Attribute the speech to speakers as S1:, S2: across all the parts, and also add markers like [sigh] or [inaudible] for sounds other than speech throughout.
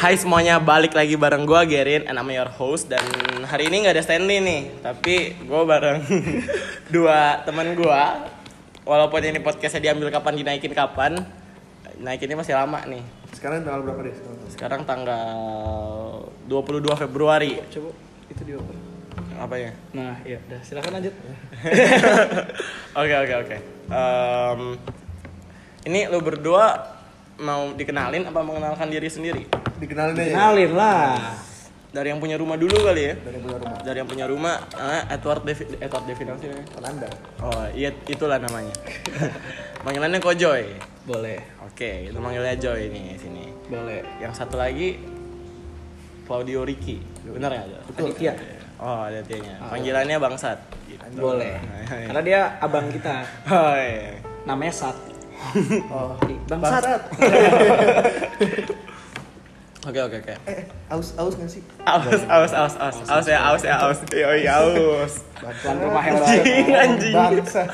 S1: Hai semuanya, balik lagi bareng gue Gerin, and I'm your host Dan hari ini gak ada Stanley nih Tapi gue bareng [laughs] dua temen gue Walaupun ini podcastnya diambil kapan, dinaikin kapan Naikinnya masih lama nih
S2: Sekarang tanggal berapa deh? sekarang?
S1: Sekarang tanggal 22 Februari ya?
S3: Coba itu di open.
S1: Apanya?
S3: Nah, iya, udah silakan lanjut.
S1: [laughs] Oke oke oke. Em, Ini lo berdua mau dikenalin apa mengenalkan diri sendiri?
S2: Dikenalin aja. ya?
S3: Kenalin lah.
S1: Dari yang punya rumah dulu kali ya.
S2: Dari punya rumah.
S1: Dari yang punya rumah, eh, Edward Devi, Edward Devin apa sih namanya?
S2: Penanda.
S1: Oh iya itulah namanya. [laughs] Panggilannya kok Joy.
S3: Boleh,
S1: Oke, itu manggilnya Joy nih sini.
S3: boleh.
S1: Yang satu lagi Claudio Ricky. Benar ya? Jo?
S3: Aditya.
S1: Oh, ada tianya. Panggilannya Bangsat. Gitu.
S3: Boleh. Karena dia abang kita.
S1: Oh, iya.
S3: Namanya Sat.
S2: Oh.
S3: Bang
S2: Bangsat.
S3: Sat.
S1: Oke oke oke.
S2: Eh, eh, aus aus nggak sih?
S1: Aus, aus, aus, aus, aus ya, aus ya, aus. Yoi, aus.
S3: Tuan rumah yang
S1: Anjing, anjing.
S2: Bangsat.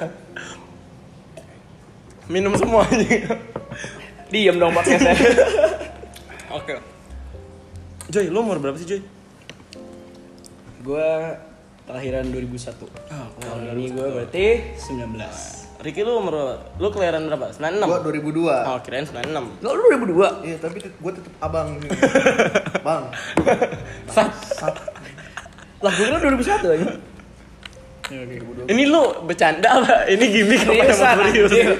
S1: Minum semuanya.
S3: Diem [laughs] dong podcastnya.
S1: Oke. Joy, lu umur berapa sih Joy?
S3: gue terakhiran 2001.
S1: Ah,
S3: Tahun ini gue berarti 19.
S1: Ricky lu umur berapa? Lu kelahiran berapa? 96?
S2: Gua 2002.
S1: Oh, kirain 96.
S3: Lo lu 2002?
S2: Iya, tapi tet- gua tetep abang sih. Bang.
S1: Sat.
S3: Lah gue kira 2001 [laughs] aja. Ya,
S1: Ini lu bercanda apa? Ini gimmick apa
S3: Seriusan,
S1: emang serius?
S3: anjir.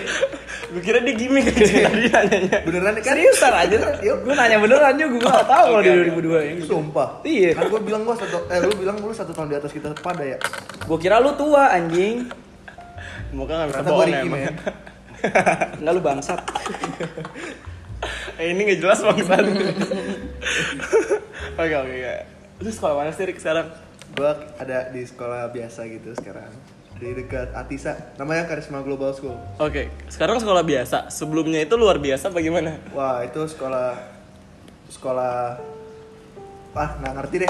S1: Gue kira dia gimmick [laughs] aja tadi nanyanya.
S2: Beneran nih kan?
S3: Seriusan aja.
S2: Yuk.
S3: Gue nanya beneran juga, gue gak tau kalau
S1: Oke,
S3: di
S1: oke.
S3: 2002 ya.
S2: Sumpah.
S3: Iya.
S2: Kan gua bilang gua satu eh lu bilang lu satu tahun di atas kita pada ya.
S3: Gue kira lu tua anjing.
S1: Muka gak bisa
S2: Kata gua
S1: bohong
S2: Ricky,
S1: emang.
S2: men.
S3: Enggak lu bangsat.
S1: [laughs] Eh, ini gak jelas bangsan. [laughs] Oke, oke, oke. Lu sekolah mana sih Rick sekarang?
S2: Gua ada di sekolah biasa gitu sekarang. Di dekat Atisa, namanya Karisma Global School.
S1: Oke, sekarang sekolah biasa. Sebelumnya itu luar biasa bagaimana?
S2: Wah, itu sekolah sekolah ah nggak ngerti [laughs] deh.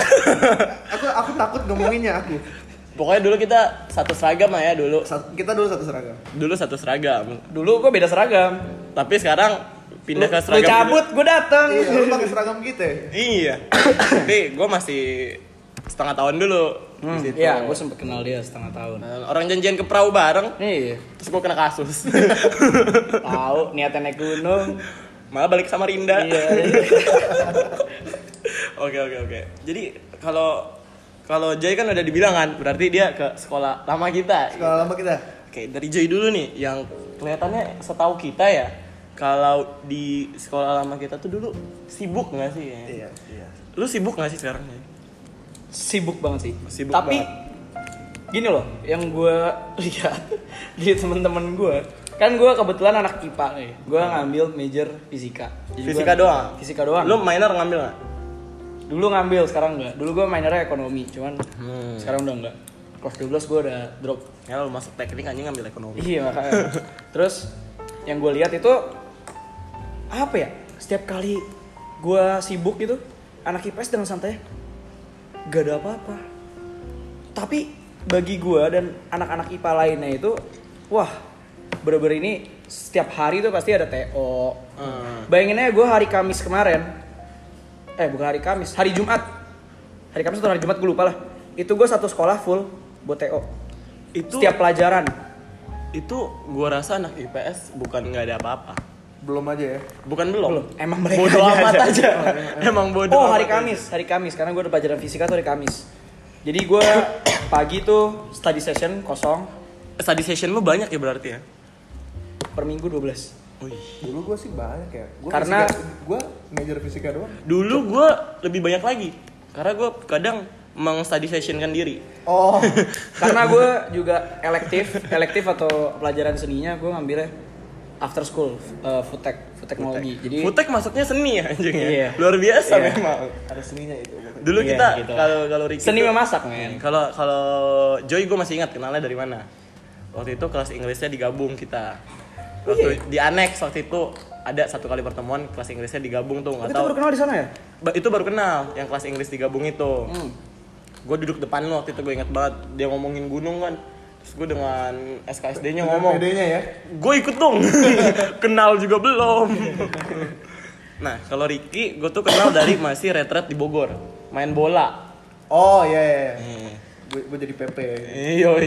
S2: aku aku takut ngomonginnya aku.
S1: Pokoknya dulu kita satu seragam lah ya dulu.
S2: Sat- kita dulu satu seragam.
S1: Dulu satu seragam.
S3: Dulu gue beda seragam.
S1: Tapi sekarang pindah
S3: Lu-
S1: ke
S3: lu
S1: seragam.
S3: cabut, gue datang.
S2: Iya, lu pakai seragam kita. ya?
S3: [coughs]
S1: Iya. Tapi gue masih setengah tahun dulu di situ.
S3: Iya, gue sempet kenal dia setengah tahun.
S1: Nah, Orang janjian ke perahu bareng,
S3: Iya,
S1: terus gue kena
S3: [laughs]
S1: kasus.
S3: tahu niatnya naik gunung.
S1: Malah balik sama Rinda.
S3: Iya.
S1: [laughs] Oke oke oke. Jadi kalau kalau Jay kan udah dibilang kan, berarti dia ke sekolah lama kita.
S2: Sekolah lama kita.
S1: Oke, dari Jay dulu nih yang kelihatannya setahu kita ya, kalau di sekolah lama kita tuh dulu sibuk nggak sih? ya?
S2: Iya, iya.
S1: Lu sibuk nggak sih sekarang? Jay?
S3: Sibuk banget sih.
S1: Sibuk
S3: Tapi gini loh, yang gue [laughs] lihat di temen-temen gue, kan gue kebetulan anak IPA nih. Gue ngambil major fisika. Jadi gua-
S1: Hmm. Fisika doang.
S3: Fisika doang.
S1: Lu minor ngambil nggak?
S3: Dulu ngambil, sekarang enggak. Dulu gue minornya ekonomi, cuman
S1: Hmm.
S3: sekarang udah enggak. Kelas 12 gue udah drop
S1: Ya lu masuk teknik anjing ngambil ekonomi.
S3: Iya makanya. Terus yang gue lihat itu apa ya? Setiap kali gue sibuk gitu, anak IPS dengan santai, gak ada apa-apa. Tapi bagi gue dan anak-anak IPA lainnya itu, wah bener-bener ini setiap hari tuh pasti ada TO.
S1: Hmm.
S3: Bayanginnya gue hari Kamis kemarin, eh bukan hari Kamis, hari Jumat. Hari Kamis atau hari Jumat gue lupa lah. Itu gue satu sekolah full buat TO.
S1: Itu
S3: Setiap pelajaran.
S1: itu gua rasa anak IPS bukan nggak ada apa-apa.
S2: Belum aja ya.
S1: Bukan belum.
S3: Belum. Emang mereka
S1: bodoh
S3: aja.
S1: amat aja. [laughs] Emang bodoh.
S3: Oh hari
S1: amat aja.
S3: Kamis, hari Kamis karena gue ada pelajaran fisika tuh hari Kamis. Jadi gue pagi tuh study session kosong
S1: Study session lu banyak ya berarti ya? Oh, iya.
S3: per minggu 12.
S1: Wih.
S2: Dulu gua sih banyak ya. Gua
S3: Karena-
S2: fisika- gua major fisika doang.
S1: Dulu gue lebih banyak lagi karena gue kadang mengstudy sessionkan kan diri.
S2: [laughs] Oh,
S3: Karena gue juga elektif, elektif atau pelajaran seninya gue ngambilnya after school uh, food tech, food technology. Jadi
S1: Futek masuknya seni ya anjing ya.
S3: Iya.
S1: Luar biasa
S3: Iya.
S1: memang.
S2: ada seninya itu.
S1: Dulu
S3: Iya,
S1: kita
S3: gitu.
S1: kalau kalau Ricky
S3: seni
S1: tuh- Iya,
S3: memasak men.
S1: Kalau kalau Joy gue masih ingat kenalnya dari mana. Waktu itu kelas Inggrisnya digabung kita.
S3: Iya.
S1: Waktu di annex waktu itu ada satu kali pertemuan kelas Inggrisnya digabung tuh nggak
S3: Itu
S1: tahu.
S3: baru kenal di sana ya?
S1: Ba- itu baru kenal yang kelas Inggris digabung itu
S3: Hmm.
S1: gue duduk depan lo waktu itu gue inget banget dia ngomongin gunung kan terus gue dengan SKSD nya ngomong
S2: [laughs] Bedanya ya.
S1: gue ikut dong kenal juga belum Nah, kalau Ricky, gue tuh kenal dari masih retret di Bogor, main bola.
S2: Oh iya iya. iya.
S1: Eh,
S2: Gue gue jadi PP.
S1: Yoi.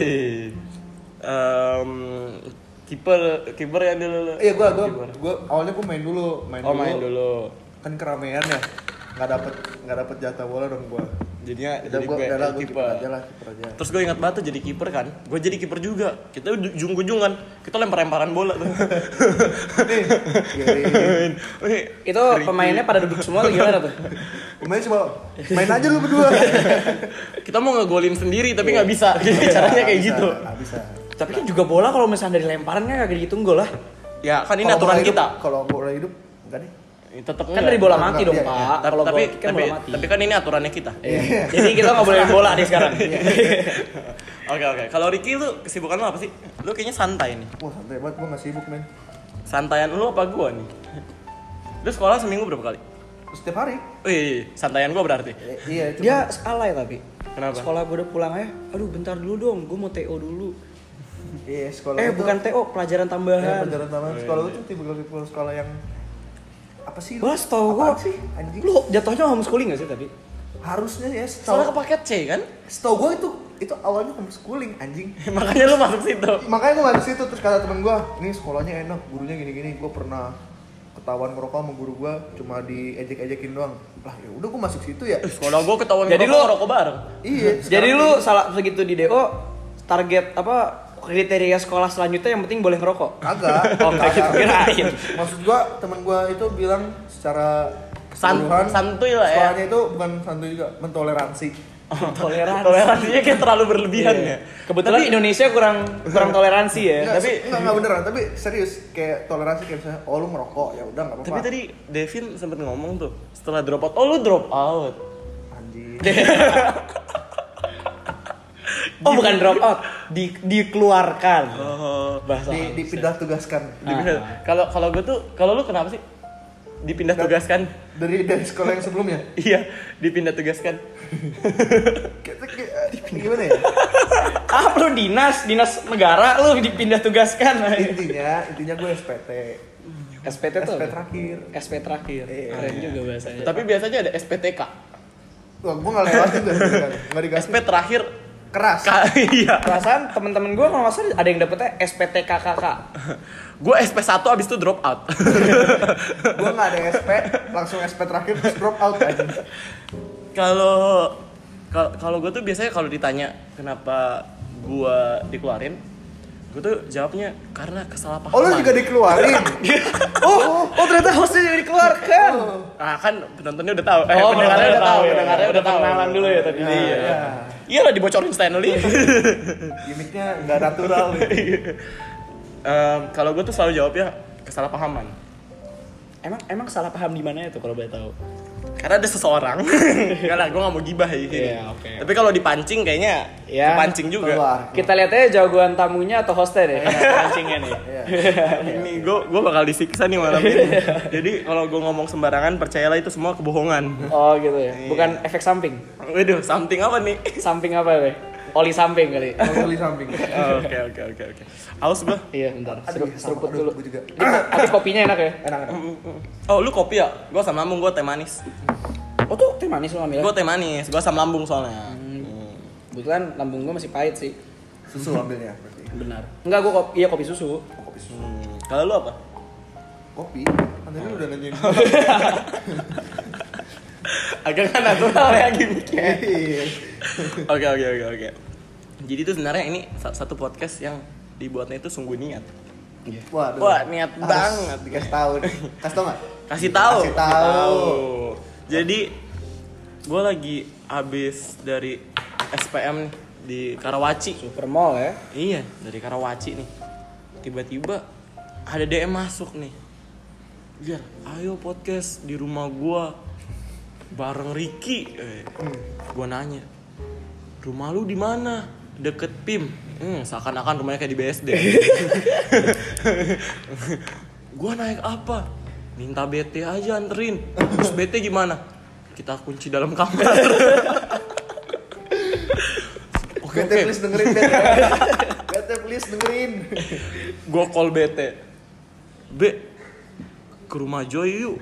S1: Em, kiper, kiper yang dulu.
S2: Iya gue gue gue awalnya gue main dulu main,
S1: Oh
S2: dulu.
S1: main dulu.
S2: Kan keramaian ya. Nggak dapet nggak dapet jatah bola dong gue.
S1: Jadinya
S2: Udah
S1: jadi
S2: gue
S1: gue
S2: udah lah gue kiper
S1: kiper.
S2: aja lah kiper aja.
S1: Terus gue ingat banget tuh jadi kiper kan. Gue jadi kiper juga. Kita jung-jungan. Kita lempar-lemparan bola tuh.
S2: Nih, Gerin.
S1: Wih,
S3: Itu pemainnya pada duduk semua atau gimana tuh?
S2: Main coba main aja lu berdua.
S1: kita mau ngegolin sendiri
S2: Iya.
S1: tapi nggak
S2: [laughs]
S1: bisa. Jadi caranya kayak
S2: Bisa,
S1: gitu.
S2: nggak bisa.
S3: Tapi kan juga bola kalau misalnya dari lemparan kan kagak dihitung gol lah.
S1: Ya, kan ini
S2: Kalau
S1: aturan
S2: bola hidup-
S1: kita.
S2: Kalau bola hidup enggak deh.
S1: Tetap
S3: Kan dari bola
S2: Enggak,
S3: mati dong,
S2: iya, iya.
S3: Pak.
S1: tapi
S3: Kalau
S1: Ah, tapi,
S3: bola kick kan
S1: tapi,
S3: bola mati.
S1: tapi kan ini aturannya kita.
S3: Iya. Jadi kita nggak boleh main bola nih sekarang.
S1: [laughs] Oke oke. Kalau Ricky lu kesibukan lu apa sih? Lu kayaknya santai nih.
S2: Wah santai banget gue masih sibuk men.
S1: Santaian lu apa gua nih? [laughs] Lu sekolah seminggu berapa kali? Oh,
S2: Setiap hari.
S1: Wih, iya. santaian gua berarti.
S2: Eh, iya cuma
S3: Dia alay tapi.
S1: Kenapa?
S3: Sekolah gue udah pulang aja. Aduh, bentar dulu dong. Gue mau TO dulu.
S2: iya sekolah.
S3: Eh,
S2: itu-
S3: bukan TO, pelajaran
S2: Ya,
S3: tambahan.
S2: pelajaran tambahan sekolah lu tuh tipe tipe sekolah yang apa sih?
S3: Wah, setau gue.
S2: Apaan sih? Anjing.
S3: Lu jatuhnya homeschooling gak sih tadi?
S2: Harusnya ya
S1: Soalnya
S2: setau.
S1: kepaket C kan? [laughs]
S2: Setau gue itu itu awalnya homeschooling anjing.
S1: Makanya lu masuk situ.
S2: Makanya gue nggak ke situ terus kata temen gue, ini sekolahnya enak, gurunya gini-gini. Gue pernah ketahuan ngerokok sama guru gue cuma diejek-ejekin doang. Lah ya udah gue masuk situ ya.
S1: Sekolah gua ketahuan
S3: Jadi
S1: ngerokok,
S3: lu-
S1: ngerokok bareng. [laughs]
S2: iya.
S3: Jadi
S2: sekarang
S3: lu salah begitu di DO target apa kriteria sekolah selanjutnya yang penting boleh ngerokok.
S2: Kagak.
S3: Oh, kayak
S2: kagak.
S3: kirain.
S2: Maksud gua teman gua itu bilang secara
S1: San-
S2: keseluruhan,
S1: santuy lah ya.
S2: Sekolahnya itu bukan santuy juga, mentoleransi.
S3: [laughs] Toleransi. Iya.
S1: Toleransinya kayak terlalu berlebihan ya.
S3: Kebetulan
S1: Tapi-
S3: Indonesia kurang kurang toleransi ya.
S2: Enggak,
S3: tapi
S2: tapi enggak, enggak beneran, tapi serius kayak toleransi kayak misalnya oh lu ngerokok ya udah enggak apa-apa.
S1: Tapi tadi Devin sempet ngomong tuh setelah drop out, oh lu drop out.
S2: anjing.
S3: oh bukan drop out, di, dikeluarkan.
S1: Oh.
S3: Bahasa.
S2: Di, dipindah tugaskan
S1: Dipindah. Kalau kalau gue tuh, kalau lu kenapa sih? Dipindah tugaskan. [laughs]
S2: dari dari sekolah yang sebelumnya.
S1: Iya, dipindah tugaskan.
S2: Kayak, kayak, gimana ya?
S3: Ah, lu dinas, dinas negara lu dipindah tugaskan.
S2: [laughs]
S3: [laughs]
S2: Intinya, intinya gue SPT.
S3: SPT tuh.
S2: SP
S3: apa?
S2: terakhir.
S3: SP terakhir.
S2: Iya.
S3: Keren juga bahasanya.
S1: Tapi biasanya ada SPTK.
S2: Wah, gue enggak lewatin tuh, enggak dikasih.
S1: SP terakhir
S2: Keras.
S1: K [laughs] iya.
S3: perasaan temen-temen gue kalau nggak salah ada yang dapetnya SPTKKK.
S1: Gue SP1 abis itu drop out. [laughs]
S2: Gue enggak ada SP, langsung SP terakhir terus drop out anjing.
S1: Kalau kal- kalau gue tuh biasanya kalau ditanya kenapa gue dikeluarin, gue tuh jawabnya karena kesalahpahaman.
S2: Oh lu juga
S1: [laughs]
S2: dikeluarin?
S1: Iya.
S3: Oh, oh ternyata hostnya jadi dikeluarkan.
S1: Nah, kan penontonnya udah tahu. Eh,
S3: Oh,
S1: pendengarnya udah tahu,
S3: ya.
S1: pendengarnya udah
S3: Udah
S1: tahu.
S3: pengenalan dulu ya tadi.
S1: Iya.
S2: Iya.
S1: Iya lah dibocorin Stanley.
S2: Gimiknya nggak natural nih.
S1: Iya. Em, kalau gue tuh selalu jawabnya kesalahpahaman.
S3: Emang emang salah paham di mana itu kalau boleh tahu?
S1: Karena ada
S3: [laughs]
S1: seseorang. Enggak lah, gue gak mau gibah ya. ini.
S3: Iya, oke.
S1: Tapi kalau dipancing kayaknya
S3: Ya,
S1: kepancing juga.
S2: Keluar.
S3: Kita lihat aja jagoan tamunya atau hostnya deh. Pancingnya nih.
S2: Iya.
S1: Ini gue gue bakal disiksa nih malam ini.
S3: Iya.
S1: Jadi kalau gue ngomong sembarangan, percayalah itu semua kebohongan.
S3: Oh gitu ya. Bukan efek samping.
S1: Waduh, something apa
S3: [laughs]
S1: nih?
S3: Samping apa ya? Be? Oli samping kali.
S2: Kali samping.
S1: Oh, Oke oke oke oke. Aus gue.
S3: Iya, bentar.
S2: Aduh,
S3: Seru-
S2: sama,
S3: Seruput
S2: aduh,
S3: dulu.
S2: gua juga.
S3: Ini ko- Tapi kopinya enak ya.
S2: Enak enak.
S1: Oh lu kopi ya? Gue asam lambung, gue teh manis.
S3: Oh tuh teh manis lu ngambil.
S1: Gue teh manis, gue asam lambung soalnya.
S3: Hmm.
S1: Hmm.
S3: Kebetulan lambung gua masih pahit sih.
S2: Susu ambilnya berarti.
S3: Benar. Enggak gua kopi, iya kopi susu.
S2: Kopi susu.
S1: Hmm, Kalau lu apa?
S2: Kopi. Kan tadi lu udah nanyain.
S1: Agak kan natural ya gimmicknya.
S2: Iya.
S1: Oke oke oke oke. Jadi itu sebenarnya ini sa- satu podcast yang dibuatnya itu sungguh niat.
S2: [laughs]
S3: Iya.
S2: Waduh.
S1: Wah, niat
S2: Harus
S1: banget.
S2: Dikasih tahu nih. Kasih tahu nggak?
S1: Kasih tahu.
S2: Kasih tahu.
S1: Jadi gue lagi abis dari SPM nih, di Karawaci.
S3: Super mall ya.
S1: Iya, dari Karawaci nih. Tiba-tiba ada DM masuk nih. Biar, ayo podcast di rumah gua bareng Ricky. Eh, gua nanya, rumah lu di mana? Deket Pim. Hmm, seakan-akan rumahnya kayak di BSD. [laughs] gua naik apa? Minta BT aja anterin. Terus BT gimana? Kita kunci dalam kamar. Oke,
S2: Bete
S1: oke.
S2: please dengerin
S1: [laughs]
S2: Bete. Bete please dengerin.
S1: gue call BT B ke rumah Joy yuk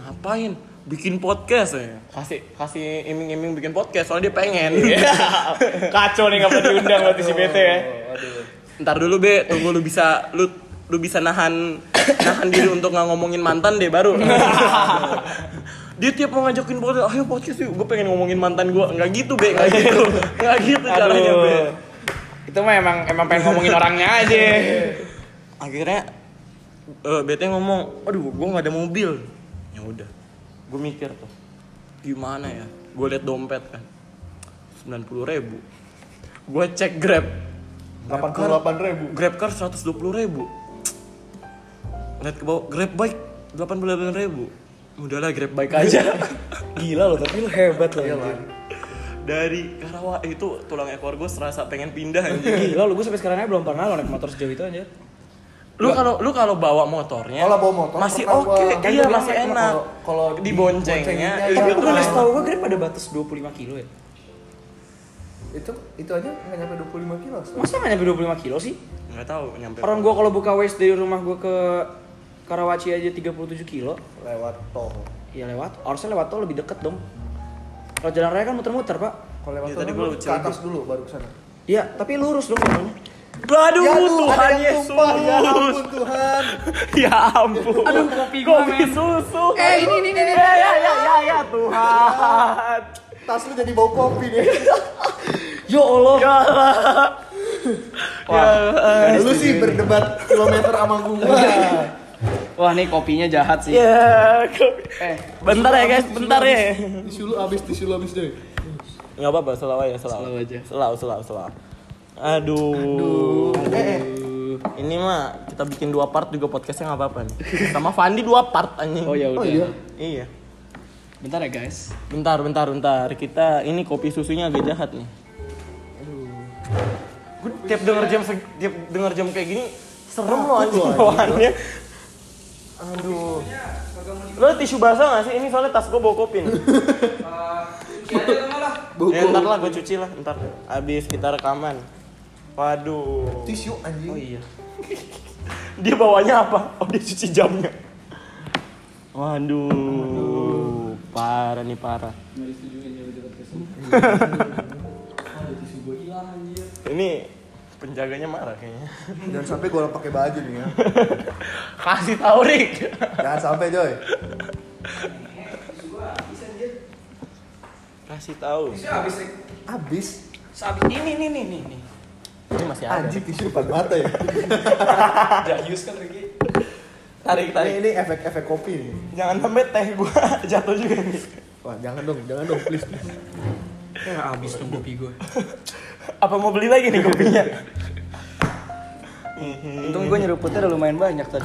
S1: ngapain bikin podcast ya kasih kasih iming-iming bikin podcast soalnya dia pengen
S3: Kacau nih nggak pernah diundang berarti si BT ya.
S1: [laughs] ntar dulu be tunggu lu bisa lu lu bisa nahan nahan diri untuk nggak ngomongin mantan deh [laughs] baru dia tiap mau ngajakin podcast ayo podcast yuk gue pengen ngomongin mantan gue nggak gitu be nggak gitu nggak gitu caranya be
S3: Aduh. Itu mah emang emang pengen ngomongin orangnya aja.
S1: akhirnya eh, bete ngomong aduh gue nggak ada mobil ya udah gue mikir tuh gimana ya gue liat dompet kan 90.000 ribu gue cek grab
S2: 88 ribu
S1: grab car 120.000 ribu lihat ke bawah grab bike 88.000 ribu udahlah grab bike aja
S3: Gila loh, tapi lu hebat loh. anjir.
S1: dari Karawang eh, itu tulang ekor gue serasa pengen pindah anjing
S3: Gila lu, gue sampai sekarang aja belum pernah lo naik motor sejauh itu anjir.
S1: lu kalau lu kalau bawa motornya
S2: Kalau bawa motor,
S1: masih
S2: pernah
S1: oke
S2: gua- kan
S1: iya
S2: gua bilang
S1: masih
S2: kan
S1: enak
S2: kalau- kalau
S1: di boncengnya
S2: diboncenginnya,
S1: iya,
S2: iya,
S3: Tapi
S1: betul.
S3: pernah
S2: terus.
S3: setahu gue Grab ada batas 25 kilo ya.
S2: itu itu aja nggak nyampe 25 kilo so.
S3: Masa nggak nyampe 25 kilo sih?
S1: nggak tahu nyampe
S3: Orang gue kalau buka Waze dari rumah gue ke Karawaci aja 37 kilo.
S2: lewat tol
S3: Ya lewat, harusnya lewat tol lebih deket dong. Kalau jalan raya kan muter-muter pak.
S2: kalau lewat
S1: Iya,
S2: tol
S1: tadi
S2: kan
S1: gua
S2: lu
S1: lucu
S2: ke atas dulu baru ke sana
S3: Iya, tapi lurus dong jalannya.
S1: Aduh
S2: Ya Tuhan,
S1: Tuhan
S2: ada yang
S1: Yesus.
S2: tumpah, ya ampun Tuhan
S1: [laughs] Ya ampun.
S3: Aduh, kopi gua, men.
S1: susu.
S3: Eh ini ini ini. ini.
S1: Ya ya ya ya, ya, Tuhan.
S2: tas lu jadi bau kopi deh
S3: Yo Allah.
S1: Ya Allah.
S3: Wah.
S2: lu sih berdebat kilometer sama gua
S3: Wah nih kopinya jahat sih.
S1: Ya.
S3: Eh
S1: Bentar ya guys, bentar ya.
S2: tisu lu abis tisu lu abis deh
S1: Enggak apa-apa, selaw aja, selaw.
S3: Selaw aja.
S1: Selaw, selaw, selaw. Aduh.
S2: eh eh,
S1: Ini mah kita bikin dua part juga podcastnya nggak apa-apa nih. Sama Fandi dua part anjing.
S3: oh ya udah.
S2: oh iya
S1: Iya.
S3: Bentar ya guys.
S1: Bentar, bentar, bentar. Kita ini kopi susunya agak jahat nih. Gue tiap denger jam seg- tiap denger jam kayak gini serem loh anjing bawaannya. Aduh. Lo tisu basah gak sih? Ini soalnya tas gue bawa kopi nih.
S2: bau
S1: Ya, ntar
S2: kopi
S1: lah gue cuci lah, ntar. Abis kita rekaman. Waduh.
S2: tisu anjing
S1: Oh iya. dia bawanya apa? Oh dia cuci jamnya. Waduh. Parah nih parah. [laughs] Ini penjaganya marah kayaknya.
S2: jangan sampai gua pakai baju nih ya
S1: Kasih tahu Rick.
S2: jangan sampai coy
S1: Kasih tahu.
S2: abis
S3: Sabit ini nih nih nih nih.
S1: Ini masih ada.
S2: anjing tisu depan mata ya
S3: Jayus kan lagi.
S1: Tarik
S2: ini
S1: tarik.
S2: ini efek efek kopi nih
S1: Jangan sampai teh gua [laughs] jatuh juga nih.
S2: wah jangan dong jangan dong please please.
S3: Ya habis dong kopi gue.
S1: Apa mau beli lagi nih kopinya?
S3: Untung gue nyeruputnya udah lumayan banyak tadi.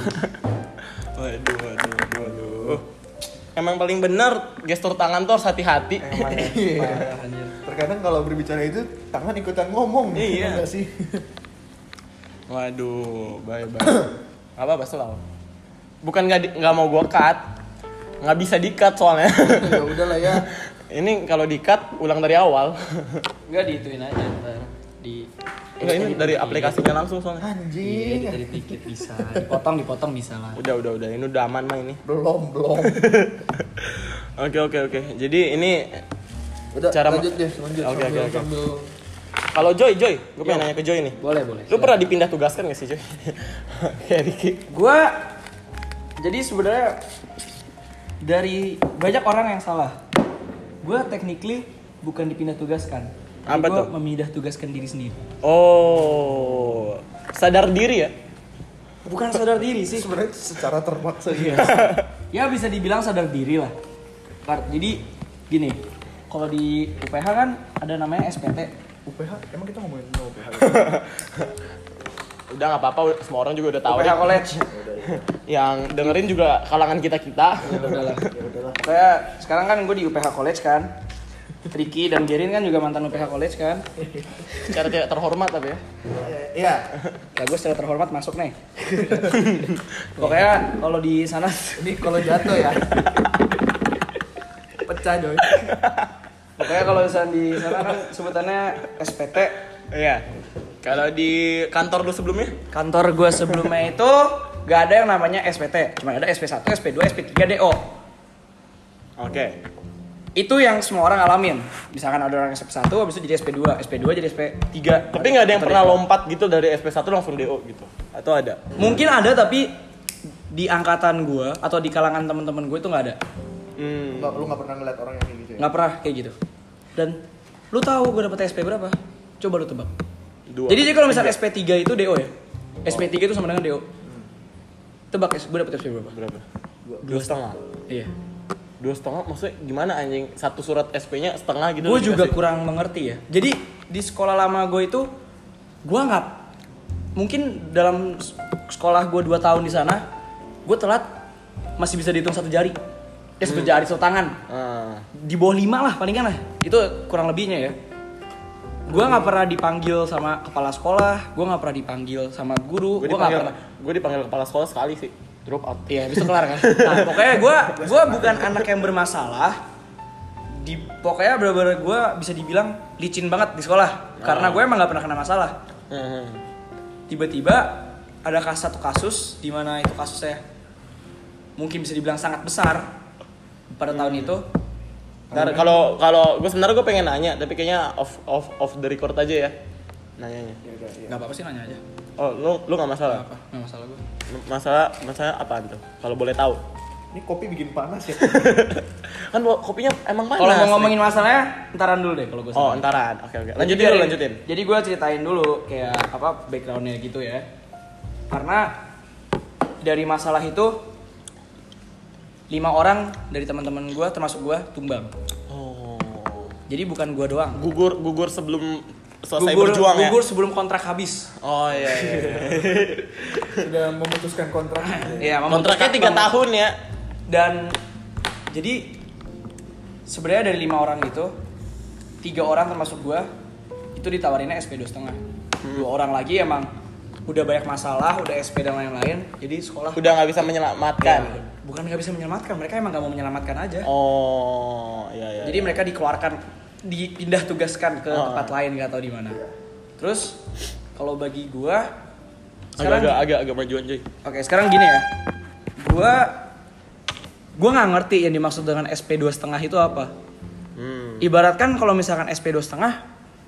S1: Waduh, waduh, waduh. Emang paling benar gestur tangan tuh harus hati-hati.
S2: Iya. terkadang kalau berbicara itu tangan ikutan ngomong
S1: Iya.
S2: enggak
S1: [laughs]
S2: sih
S1: Waduh, bye bye. [coughs] Gak apa-apa selalu. Bukan nggak di- nggak mau gua cut, nggak bisa di cut soalnya. [laughs]
S2: ya udahlah ya
S1: ini kalau di cut ulang dari awal. [laughs]
S3: Enggak diituin aja ntar di
S1: Enggak ini dari aplikasinya langsung soalnya.
S2: anjing
S1: Iya,
S3: dari dikit Iya, bisa, dipotong dipotong bisa lah.
S1: Udah udah udah ini udah aman mah ini. [laughs]
S2: belum belum
S1: Oke oke oke. Jadi ini
S2: udah
S1: Cara ma-
S2: lanjut deh lanjut
S1: Oke, oke,
S2: sambil,
S1: oke.
S2: sambil
S1: kalau Joy Joy, gue pengen nanya ke Joy nih.
S3: Boleh boleh.
S1: Lu pernah dipindah tugaskan gak sih Joy? [laughs] Kayak Ricky.
S3: Gue jadi sebenarnya dari banyak orang yang salah. Gue technically bukan dipindah tugaskan.
S1: Apa
S3: Gue
S1: tuh?
S3: memindah tugaskan diri sendiri.
S1: Oh, sadar diri ya?
S3: Bukan sadar diri sih.
S2: sebenarnya secara terpaksa [laughs]
S3: Iya. ya bisa dibilang sadar diri lah. Kar- Jadi gini, kalau di UPH kan ada namanya SPT.
S2: UPH emang kita ngomongin tentang UPH
S1: Udah nggak apa-apa, semua orang juga udah tahu.
S3: UPH
S1: Rick.
S3: College.
S1: Yang dengerin juga kalangan kita kita.
S3: Ya udahlah.
S2: ya udahlah
S3: Kayak sekarang kan gue di UPH College kan. Ricky dan Gerin kan juga mantan UPH College kan.
S1: Cara tidak terhormat tapi ya.
S2: iya
S3: Nah, gue secara terhormat masuk nih. [laughs] Pokoknya kalau di sana [laughs]
S2: ini kalau jatuh ya pecah coy
S3: pokoknya kalau misalnya di sana kan sebutannya SPT.
S1: Iya. Kalau di kantor lu sebelumnya?
S3: Kantor gue sebelumnya itu gak ada yang namanya SPT, cuma ada SP1, SP2, SP3, DO.
S1: Oke.
S3: Itu yang semua orang alamin. Misalkan ada orang SP1, habis itu jadi SP2, SP2 jadi SP3.
S1: Tapi nggak ada yang
S3: Atau
S1: pernah
S3: DO.
S1: lompat gitu dari SP1 langsung DO gitu. Atau ada?
S3: Mungkin ada tapi di angkatan gua atau di kalangan teman-teman gue itu nggak ada.
S1: Hmm.
S2: Enggak, lu nggak pernah ngeliat orang yang kayak gitu ya?
S3: Nggak pernah kayak gitu. Dan lu tahu gue dapet SP berapa? Coba lu tebak.
S1: Dua.
S3: Jadi dia kalau misalnya SP3 itu DO ya. SP3 itu sama dengan DO. Tebak gue dapet SP berapa?
S1: berapa? Dua, setengah.
S3: Iya.
S1: Dua setengah maksudnya gimana anjing? Satu surat SP-nya setengah gitu.
S3: Gue
S1: loh
S3: juga
S1: dikasih.
S3: kurang mengerti ya. Jadi di sekolah lama gue itu gue nggak mungkin dalam s- sekolah gue 2 tahun di sana gue telat masih bisa dihitung satu jari. Ya satu
S1: Hmm.
S3: jari satu tangan.
S1: Ah.
S3: di bawah lima lah palingan lah itu kurang lebihnya ya gue nggak pernah dipanggil sama kepala sekolah gue nggak pernah dipanggil sama guru
S1: Gue
S3: gue nggak
S1: dipanggil,
S3: pernah
S1: gue dipanggil kepala sekolah sekali sih. Drop out.
S3: iya bisa kelar kan nah, pokoknya gue gua bukan anak yang bermasalah di pokoknya bener-bener gue bisa dibilang licin banget di sekolah karena gue emang nggak pernah kena masalah
S1: Heeh.
S3: tiba-tiba ada kas satu kasus di mana itu kasusnya mungkin bisa dibilang sangat besar pada tahun itu
S1: Ntar kalau kalau gue sebenarnya gue pengen nanya tapi kayaknya off off off the record aja ya. Nanyanya.
S2: Ya udah, iya.
S3: nggak apa-apa sih nanya aja
S1: Oh, lu lu nggak masalah.
S3: nggak apa nggak masalah gue
S1: Masalah masalah apaan tuh? Kalau boleh tahu. [laughs]
S2: Ini kopi bikin panas ya?
S1: Kan kopinya emang panas.
S3: Kalau mau
S1: nih.
S3: ngomongin masalahnya, ntaran dulu deh kalau gue.
S1: Oh, entaran. Oke, oke. Lanjutin dulu, lanjutin.
S3: Jadi gue ceritain dulu kayak apa backgroundnya gitu ya. Karena dari masalah itu lima orang dari teman-teman gue termasuk gue tumbang.
S1: Oh.
S3: Jadi bukan gue doang.
S1: Gugur gugur sebelum selesai
S3: gugur,
S1: berjuang ya.
S3: gugur sebelum kontrak
S1: [laughs]
S3: habis.
S1: Oh iya iya. [laughs] iya.
S2: Sudah memutuskan kontrak.
S3: Iya, memang
S1: Kontraknya
S3: kontrak
S1: tiga
S3: memang-
S1: tahun ya.
S3: Dan jadi sebenarnya dari lima orang itu tiga orang termasuk gue itu ditawarinnya SP dua setengah. Dua orang lagi emang udah banyak masalah, udah SP dan lain-lain. Jadi sekolah
S1: Udah nggak bisa menyelamatkan.
S3: Ya, bukan nggak bisa menyelamatkan, mereka emang nggak mau menyelamatkan aja.
S1: Oh iya iya.
S3: Jadi mereka dikeluarkan, dipindah tugaskan ke
S1: Oh.
S3: tempat lain nggak tahu di mana. Terus kalau bagi gue
S1: agak
S3: sekarang
S1: agak agak agak majuan cuy.
S3: Oke, sekarang gini ya. Gua gua nggak ngerti yang dimaksud dengan SP 2,5 setengah itu apa.
S1: Hmm.
S3: Ibaratkan kalau misalkan SP 2,5 setengah,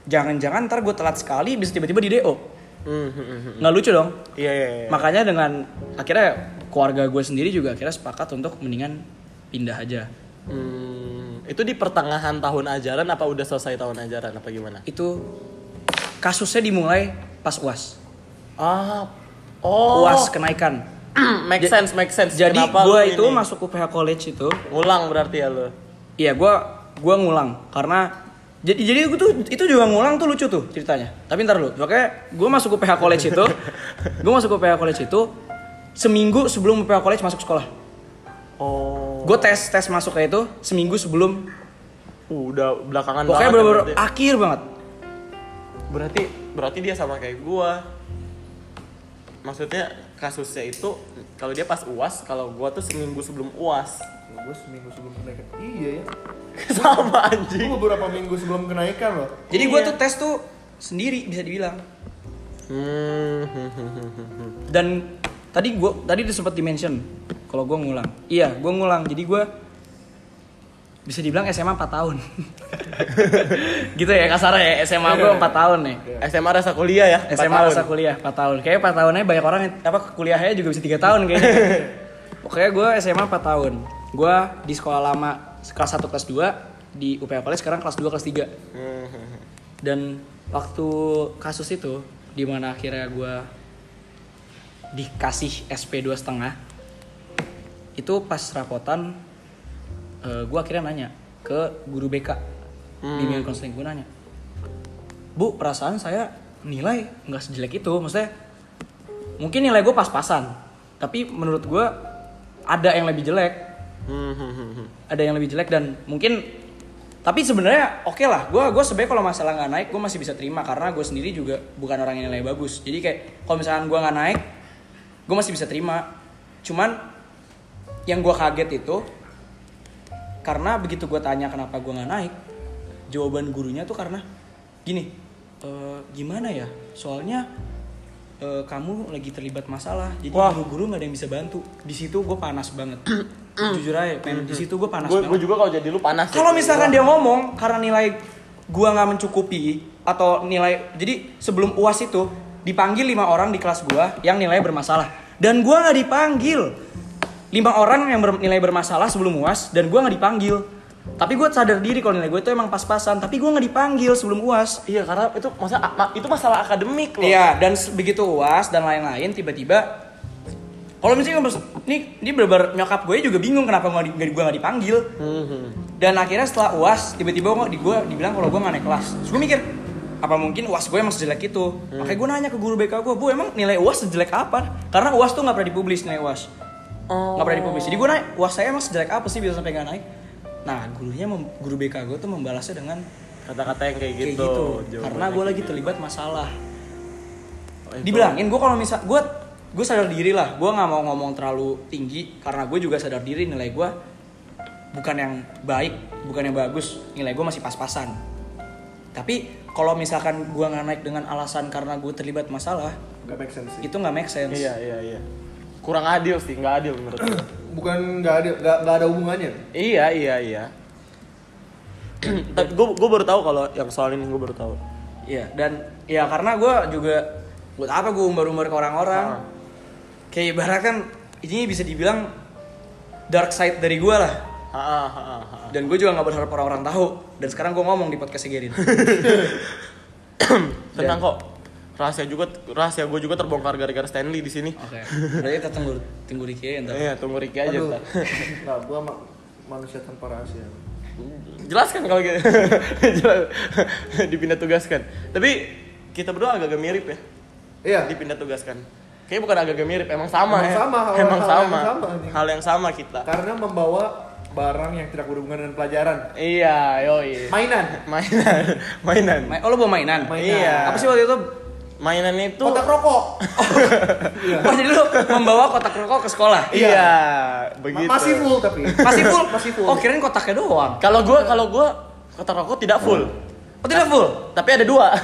S3: jangan-jangan ntar gue telat sekali bisa tiba-tiba di DO.
S1: Hmm, hmm, hmm, hmm.
S3: Nggak lucu dong.
S1: Iya iya. iya.
S3: Makanya dengan akhirnya keluarga gue sendiri juga akhirnya sepakat untuk mendingan pindah aja.
S1: Hmm, itu di pertengahan tahun ajaran apa udah selesai tahun ajaran apa gimana?
S3: Itu kasusnya dimulai pas UAS.
S1: Ah, oh.
S3: UAS kenaikan.
S1: [clears throat] make sense, make sense.
S3: Jadi
S1: Kenapa
S3: gue
S1: lu
S3: itu
S1: ini?
S3: masuk UPH College itu
S1: ngulang berarti ya lo.
S3: Iya, gua gua ngulang karena jadi jadi gua tuh itu juga ngulang tuh lucu tuh ceritanya. Tapi ntar lu, pokoknya gua masuk UPH College itu, gua masuk UPH College itu seminggu sebelum UPH College masuk sekolah.
S1: Oh.
S3: Gua tes tes masuknya itu seminggu sebelum
S1: Uh, udah belakangan
S3: pokoknya
S1: banget ya
S3: bener-bener
S1: berarti.
S3: akhir banget.
S1: berarti berarti dia sama kayak gua. Maksudnya kasusnya itu kalau dia pas UAS, kalau gua tuh seminggu sebelum UAS.
S2: gue seminggu sebelum kenaikan. Iya ya.
S1: [laughs] sama
S2: Gue
S1: anjing.
S2: beberapa minggu sebelum kenaikan loh.
S3: Jadi gua
S1: Iya.
S3: tuh tes tuh sendiri bisa dibilang.
S1: Hmm.
S3: Dan tadi gua tadi udah sempat dimention kalau gua ngulang. Iya, gua ngulang. Jadi gua bisa dibilang SMA 4 tahun. [laughs] gitu ya kasarnya ya SMA
S1: Iya.
S3: gua 4 tahun ya. nih.
S1: SMA rasa kuliah ya? empat
S3: SMA
S1: tahun.
S3: masa kuliah 4 tahun. Kayaknya 4 tahunnya banyak orang yang- apa kuliahnya juga bisa 3 tahun kayaknya.
S1: [laughs]
S3: Pokoknya gue SMA 4 tahun. Gue di sekolah lama kelas 1 kelas 2 di UPH College sekarang kelas 2 kelas
S1: [laughs]
S3: 3.
S1: Hmm.
S3: Dan waktu kasus itu di mana akhirnya gue dikasih SP dua setengah itu pas rapotan gue akhirnya nanya ke guru BK
S1: Hmm.
S3: bimbingan konseling gue nanya bu perasaan saya nilai nggak sejelek itu maksudnya mungkin nilai gue pas-pasan tapi menurut gue ada yang lebih jelek
S1: Hmm, hmm, hmm, hmm.
S3: ada yang lebih jelek dan mungkin tapi sebenarnya oke lah gue gue sebenarnya kalau masalah nggak naik gue masih bisa terima karena gue sendiri juga bukan orang yang nilai bagus jadi kayak kalau misalkan gue nggak naik gue masih bisa terima cuman yang gue kaget itu karena begitu gue tanya kenapa gue nggak naik jawaban gurunya tuh karena gini "Eh, gimana ya soalnya eh, kamu lagi terlibat masalah jadi
S1: Wah.
S3: guru-guru nggak ada yang bisa bantu di situ gue panas banget jujur aja men di situ gue panas
S1: Gue
S3: banget
S1: juga kalau jadi lu panas. ya.
S3: kalau misalkan dia ngomong karena nilai gua nggak mencukupi atau nilai jadi sebelum uas itu dipanggil lima orang di kelas gua yang nilai bermasalah dan gua nggak dipanggil lima orang yang ber- nilai bermasalah sebelum uas dan gua nggak dipanggil tapi gue sadar diri kalau nilai gue itu emang pas-pasan tapi gua nggak dipanggil sebelum uas
S1: Iya karena itu masa ma- itu masalah akademik loh.
S3: Iya, dan se- begitu UAS dan lain-lain tiba-tiba kalau misalnya nggak bers- ini ini bener nyokap gue juga bingung kenapa nggak di- nggak di- gue nggak dipanggil. Dan akhirnya setelah UAS tiba-tiba gue di gue dibilang kalau gue nggak naik kelas. Terus gue mikir apa mungkin UAS gue emang sejelek itu? Makanya gue nanya ke guru BK gue, bu emang nilai UAS sejelek apa? Karena UAS tuh nggak pernah dipublis nilai UAS.
S1: Oh.
S3: Nggak pernah dipublis. Jadi gue nanya UAS saya emang sejelek apa sih bisa sampai nggak naik? Nah gurunya mem- guru BK gue tuh membalasnya dengan
S1: Kata-kata yang kayak
S3: kayak
S1: gitu.
S3: gitu, karena gue lagi terlibat masalah
S1: Eh, gitu.
S3: dibilangin gue kalau misal gue gue sadar diri lah gue nggak mau ngomong terlalu tinggi karena gue juga sadar diri nilai gue bukan yang baik bukan yang bagus nilai gue masih pas-pasan tapi kalau misalkan gue nggak naik dengan alasan karena gue terlibat masalah
S2: Gak make sense sih.
S3: itu nggak make sense
S1: Iya iya iya. Kurang adil sih, nggak adil menurut gue.
S2: Bukan gak ada gak, gak ada hubungannya.
S1: [clears throat] iya iya iya. [clears throat] Tapi gue gue baru tahu kalau yang soal ini gue baru tahu.
S3: Iya, dan ya karena gue juga buat apa gue umbar-umbar ke orang-orang
S1: Ah.
S3: kayak ibarat kan ini bisa dibilang dark side dari gue lah
S1: Ha, ha, ha, ha.
S3: dan gue juga nggak berharap orang-orang tahu dan sekarang gue ngomong di podcast Gerin
S1: Tenang kok. Rahasia juga rahasia gue juga terbongkar gara-gara Stanley di sini.
S3: oke berarti kita tunggu tunggu Ricky ya ntar
S1: Iya, tunggu Ricky aja.
S2: Aduh.
S1: ntar.
S2: [laughs] Nah, gua ma- manusia tanpa rahasia.
S1: Jelaskan kalau gitu. [laughs] Jelas- [laughs] Dipindah tugaskan. Tapi kita berdua agak-agak mirip ya.
S2: Iya.
S1: Dipindah tugaskan. Kayaknya bukan agak-agak mirip, emang sama
S2: Emang
S1: ya.
S2: sama,
S1: emang
S2: hal- hal yang
S1: sama.
S2: sama.
S1: Hal yang sama kita.
S2: Karena membawa barang yang tidak berhubungan dengan pelajaran.
S1: Iya, yoi.
S2: Mainan.
S1: Mainan, mainan.
S3: Main, oh lo bawa mainan?
S2: Mainan.
S1: Iya.
S3: Apa sih waktu itu?
S1: Mainan itu
S2: Kotak rokok.
S3: Oh jadi lo membawa kotak rokok ke sekolah?
S1: Iya,
S2: Iya.
S1: begitu.
S2: Masih full tapi.
S3: Masih full?
S2: Masih full.
S3: Oh kirain kotaknya doang
S1: Kalau gua kalau gua kotak rokok tidak full.
S3: Oh tidak full?
S1: Tapi ada dua.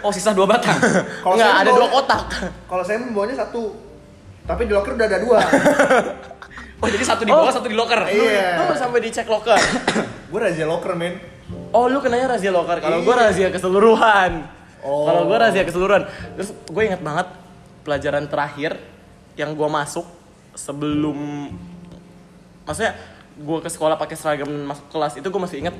S3: Oh sisa dua batang?
S2: Kalau
S1: Enggak,
S2: saya
S1: ada
S2: bawa-
S1: dua kotak.
S2: Kalau saya membawanya satu. Tapi di locker udah ada dua.
S3: Oh jadi satu di
S1: Oh.
S3: bawah, satu di locker?
S2: Iya.
S1: Lu sampai dicek loker.
S2: Gua razia locker, men.
S1: Oh, lu kenanya razia loker. Kalau gua razia keseluruhan.
S2: Iya. Oh.
S1: Kalau gua razia keseluruhan. Terus gue ingat banget pelajaran terakhir yang gua masuk sebelum maksudnya gua ke sekolah pakai seragam masuk kelas itu gua masih inget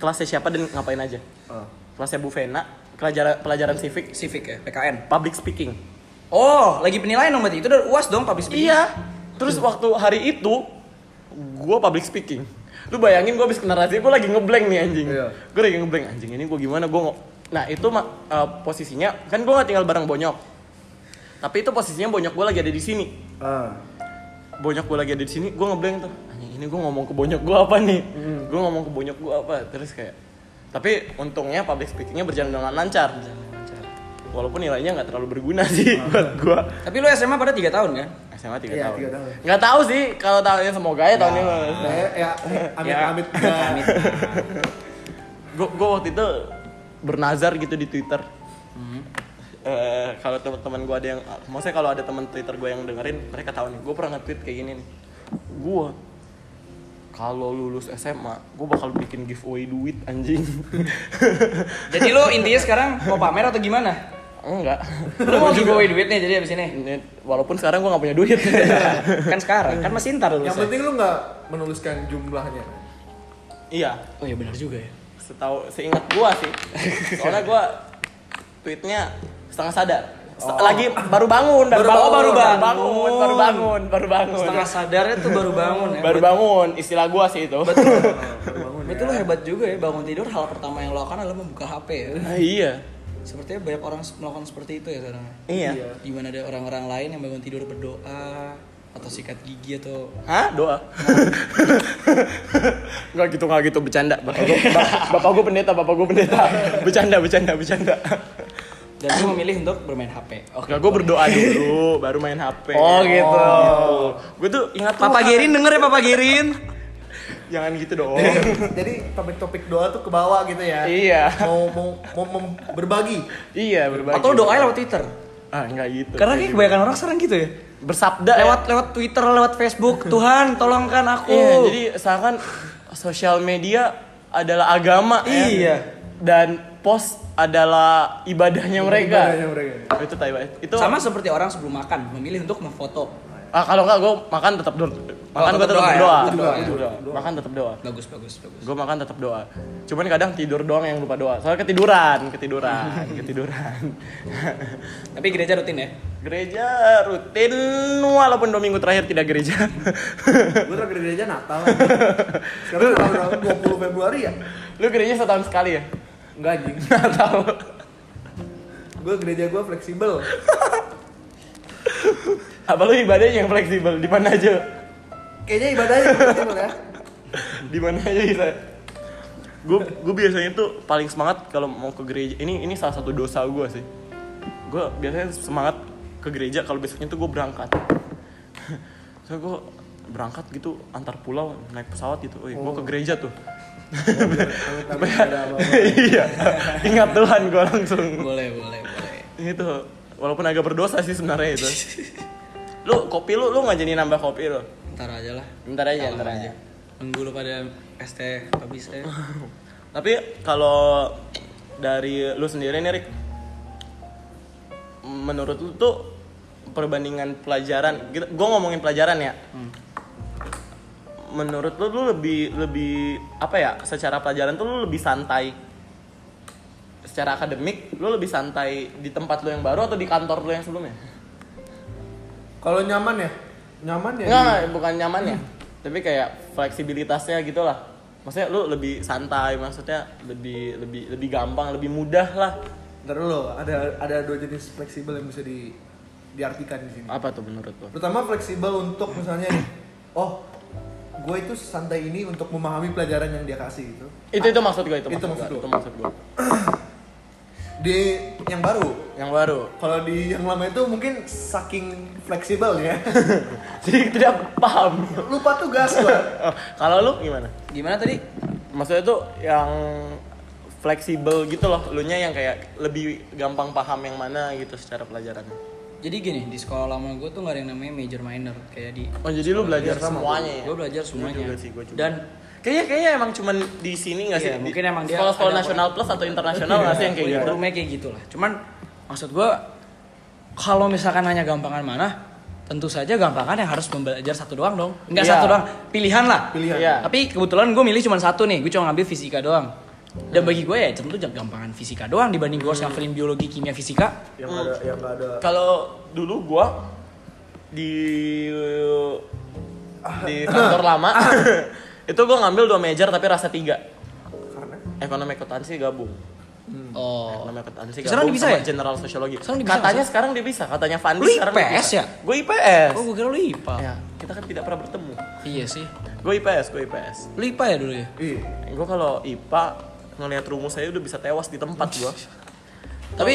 S1: kelasnya siapa dan ngapain aja.
S2: Ah.
S1: Kelasnya Bu Vena, pelajaran pelajaran civic,
S3: Civic ya, PKN
S1: public speaking.
S3: Oh lagi penilaian dong berarti? Itu udah uas dong public speaking?
S1: Iya. Terus waktu hari itu gue public speaking. Lu bayangin gue habis kena razia, gue lagi ngeblank nih anjing.
S2: Iya.
S1: Gue lagi ngeblank anjing. Ini gue gimana? Gue Nah, itu ma- eh, posisinya kan gue nggak tinggal bareng Bonyok. Tapi itu posisinya Bonyok gue lagi ada di sini.
S2: Ah.
S1: Bonyok gue lagi ada di sini, gue ngeblank tuh. Anjing, ini gue ngomong ke Bonyok gue apa nih? Gue ngomong ke Bonyok gue apa? Terus kayak tapi untungnya public speakingnya berjalan dengan lancar. Walaupun nilainya nggak terlalu berguna [laughs] sih buat gue.
S3: Tapi lo SMA pada 3 tahun kan?
S1: SMA 3
S2: Iya,
S1: tahun.
S2: tiga tahun.
S1: Nggak tahu sih kalau tahunnya semoga ya tahun ini.
S2: Eh, ya, amit
S3: Ya.
S2: amit.
S3: Amit.
S1: Gue gue waktu itu bernazar gitu di Twitter. Hmm. Eh, kalau teman-teman gue ada yang, maksudnya kalau ada teman Twitter gue yang dengerin, mereka tahu nih. Gue pernah nge-tweet kayak gini nih. Gue kalau lulus SMA, gue bakal bikin giveaway duit anjing. [laughs]
S3: Jadi lo intinya sekarang mau pamer atau gimana?
S1: Enggak.
S3: Lu mau giveaway duit nih jadi abis ini
S1: Ini- Walaupun sekarang gue gak punya duit.
S3: Kan sekarang, kan masih ntar
S2: Yang
S3: lulusnya
S2: penting lu nggak menuliskan jumlahnya.
S1: iya,
S3: Oh iya benar juga ya
S1: setahu seingat gua sih soalnya gua tweetnya setengah sadar Set- lagi baru bangun Oh. baru,
S3: Baru
S1: bangun,
S3: bangun, baru
S1: bangun
S3: bangun.
S1: baru bangun baru bangun
S3: Setengah sadarnya tuh baru bangun ya
S1: baru bangun istilah gua sih itu
S2: Bangun [laughs] ya.
S3: Berarti lo hebat juga ya, bangun tidur hal pertama yang lo lakukan adalah membuka HP ya
S1: Ah, [laughs] iya
S3: Sepertinya banyak orang melakukan seperti itu ya sekarang
S1: iya
S3: Gimana ada orang-orang lain yang bangun tidur berdoa Atau sikat gigi atau
S1: Hah? [laughs] Doa? Enggak gitu, enggak gitu. Bercanda. Bapak gue bapak gua pendeta, bapak gue pendeta. Bercanda, bercanda, bercanda.
S3: Dan lo memilih untuk bermain HP
S1: Oke, gue berdoa dulu, baru main HP.
S3: Oh, gitu.
S1: Gue tuh ingat
S3: Papa
S1: Tuhan.
S3: Gerin denger ya Papa Gerin
S1: Jangan gitu dong.
S2: Jadi topik-topik doa tuh ke bawah gitu ya.
S1: iya.
S2: Mau mau mau mem- berbagi.
S1: [laughs] Iya, berbagi.
S3: Atau lo doain lewat Twitter
S1: ah nggak gitu
S4: Karena kayak kebanyakan orang sekarang gitu ya.
S1: bersabda
S3: Iya.
S1: ya.
S4: Lewat lewat Twitter, lewat
S3: [laughs]
S4: Facebook, Tuhan tolongkan aku.
S1: Iya, jadi seakan sosial media adalah agama ya.
S4: Iya.
S1: Dan pos adalah ibadahnya
S2: Ibadahnya
S1: mereka. Oh,
S2: mereka.
S1: Itu tai banget. Itu
S3: Sama seperti orang sebelum makan memilih untuk memfoto.
S1: ah, kalau enggak gue makan tetap doa. Makan gue
S3: tetap
S1: tetap
S3: doa
S1: berdoa.
S3: ya. Tetap doa, ya.
S1: Tetap doa. Iya. Makan tetap doa.
S3: Bagus bagus bagus.
S1: Gue makan tetap doa. Cuman kadang tidur doang yang lupa doa. Soalnya ketiduran, ketiduran, ketiduran. [laughs]
S3: Tapi gereja rutin ya.
S1: gereja rutin walaupun dua minggu terakhir tidak gereja. [laughs]
S2: Gue terakhir kan gereja Natal. Sekarang tanggal 20 Februari ya?
S1: Lu gereja setahun sekali ya?
S2: Enggak anjing.
S1: Nggak tahu.
S2: Gue gereja gue fleksibel.
S1: Apa lu ibadahnya yang fleksibel di mana aja?
S2: Kayaknya ibadahnya fleksibel ya.
S1: di mana aja kita gue gue biasanya tuh paling semangat kalau mau ke gereja ini ini salah satu dosa gue sih gue biasanya semangat ke gereja kalau besoknya tuh gue berangkat [laughs] so gue berangkat gitu antar pulau naik pesawat gitu, Wih, gue ke gereja tuh. [laughs] Iya, ingat Tuhan gue langsung.
S3: Boleh boleh boleh.
S1: Itu walaupun agak berdosa sih sebenarnya [laughs] itu. Lu kopi lu lu nggak jadi nambah kopi lu.
S3: Ntar aja lah.
S1: Bentar aja, bentar
S3: Kalem
S1: aja.
S3: ya. Nunggu lu pada ST habis ya.
S1: Tapi kalau dari lu sendiri nih Rick Menurut lu tuh perbandingan pelajaran gitu, Gue ngomongin pelajaran ya Menurut lu, lu lebih, lebih apa ya Secara pelajaran tuh lu lebih santai Secara akademik lu lebih santai di tempat lu yang baru atau di kantor lu yang sebelumnya?
S2: Kalau nyaman ya? Nyaman ya?
S1: Enggak, enggak, bukan nyaman ya Tapi kayak fleksibilitasnya gitu lah Maksudnya lu lebih santai, maksudnya lebih lebih lebih gampang, lebih mudah lah
S2: Ntar dulu, ada ada dua jenis fleksibel yang bisa di diartikan di sini.
S1: apa tuh menurut lo?
S2: Pertama fleksibel untuk misalnya nih, oh gue itu santai ini untuk memahami pelajaran yang dia kasih gitu.
S1: Itu itu maksud gue itu,
S2: Itu
S1: maksud
S2: maksud
S1: gue.
S2: lo.
S1: Itu maksud gue.
S2: Di yang baru,
S1: Yang baru. [laughs]
S2: kalau di yang lama itu mungkin saking fleksibel ya, [laughs]
S1: Jadi tidak paham.
S2: lupa tugas gue.
S1: Oh, Kalau lu gimana?
S3: Gimana tadi?
S1: Maksudnya tuh yang fleksibel gitu loh, lu nya yang kayak lebih gampang paham yang mana gitu secara pelajarannya.
S3: Jadi gini, di sekolah lama gue tuh gak ada yang namanya major minor kayak di
S1: Oh jadi lu belajar semuanya ya?
S3: gue belajar semuanya.
S1: juga sih, gua juga.
S3: Dan
S1: Kayaknya kayaknya emang cuman di sini nggak sih?
S3: Iya,
S1: Di-
S3: mungkin emang dia
S1: sekolah-sekolah
S3: ada
S1: nasional plus atau internasional nggak sih yang kayak
S3: Iya,
S1: gitu?
S3: kurikulumnya kayak gitulah. Cuman maksud gue kalau misalkan hanya gampangan mana, tentu saja gampangan yang harus membelajar satu doang dong. Enggak
S1: Iya.
S3: satu doang, pilihan lah.
S2: Pilihan.
S1: Iya.
S3: Tapi kebetulan gue milih cuma satu nih, gue cuma ngambil fisika doang. Dan bagi gue ya tentu jangan gampangan fisika doang dibanding gue harus ngafalin biologi, kimia, fisika.
S2: Yang ada yang nggak ada
S1: Kalau dulu gua di di [laughs] kantor lama itu gua ngambil dua major tapi rasa tiga
S2: karena
S1: ekonomi akuntansi gabung Hmm.
S3: Oh.
S1: ekonomi akuntansi gabung
S3: Sekarang dia bisa
S1: sama
S3: ya?
S1: general sosiologi
S3: Sekarang dia bisa,
S1: katanya sekarang dia bisa katanya Fandi
S3: Lu
S1: sekarang dia
S3: IPS
S1: bisa.
S3: ya?
S1: gua IPS
S3: Oh, gue kira lu IPA.
S1: ya kita kan tidak pernah bertemu
S3: Iya sih.
S1: gua IPS gua IPS
S3: Lu IPA ya dulu ya?
S2: iya.
S1: gua kalau IPA ngelihat rumus saya udah bisa tewas di tempat gua
S3: Tapi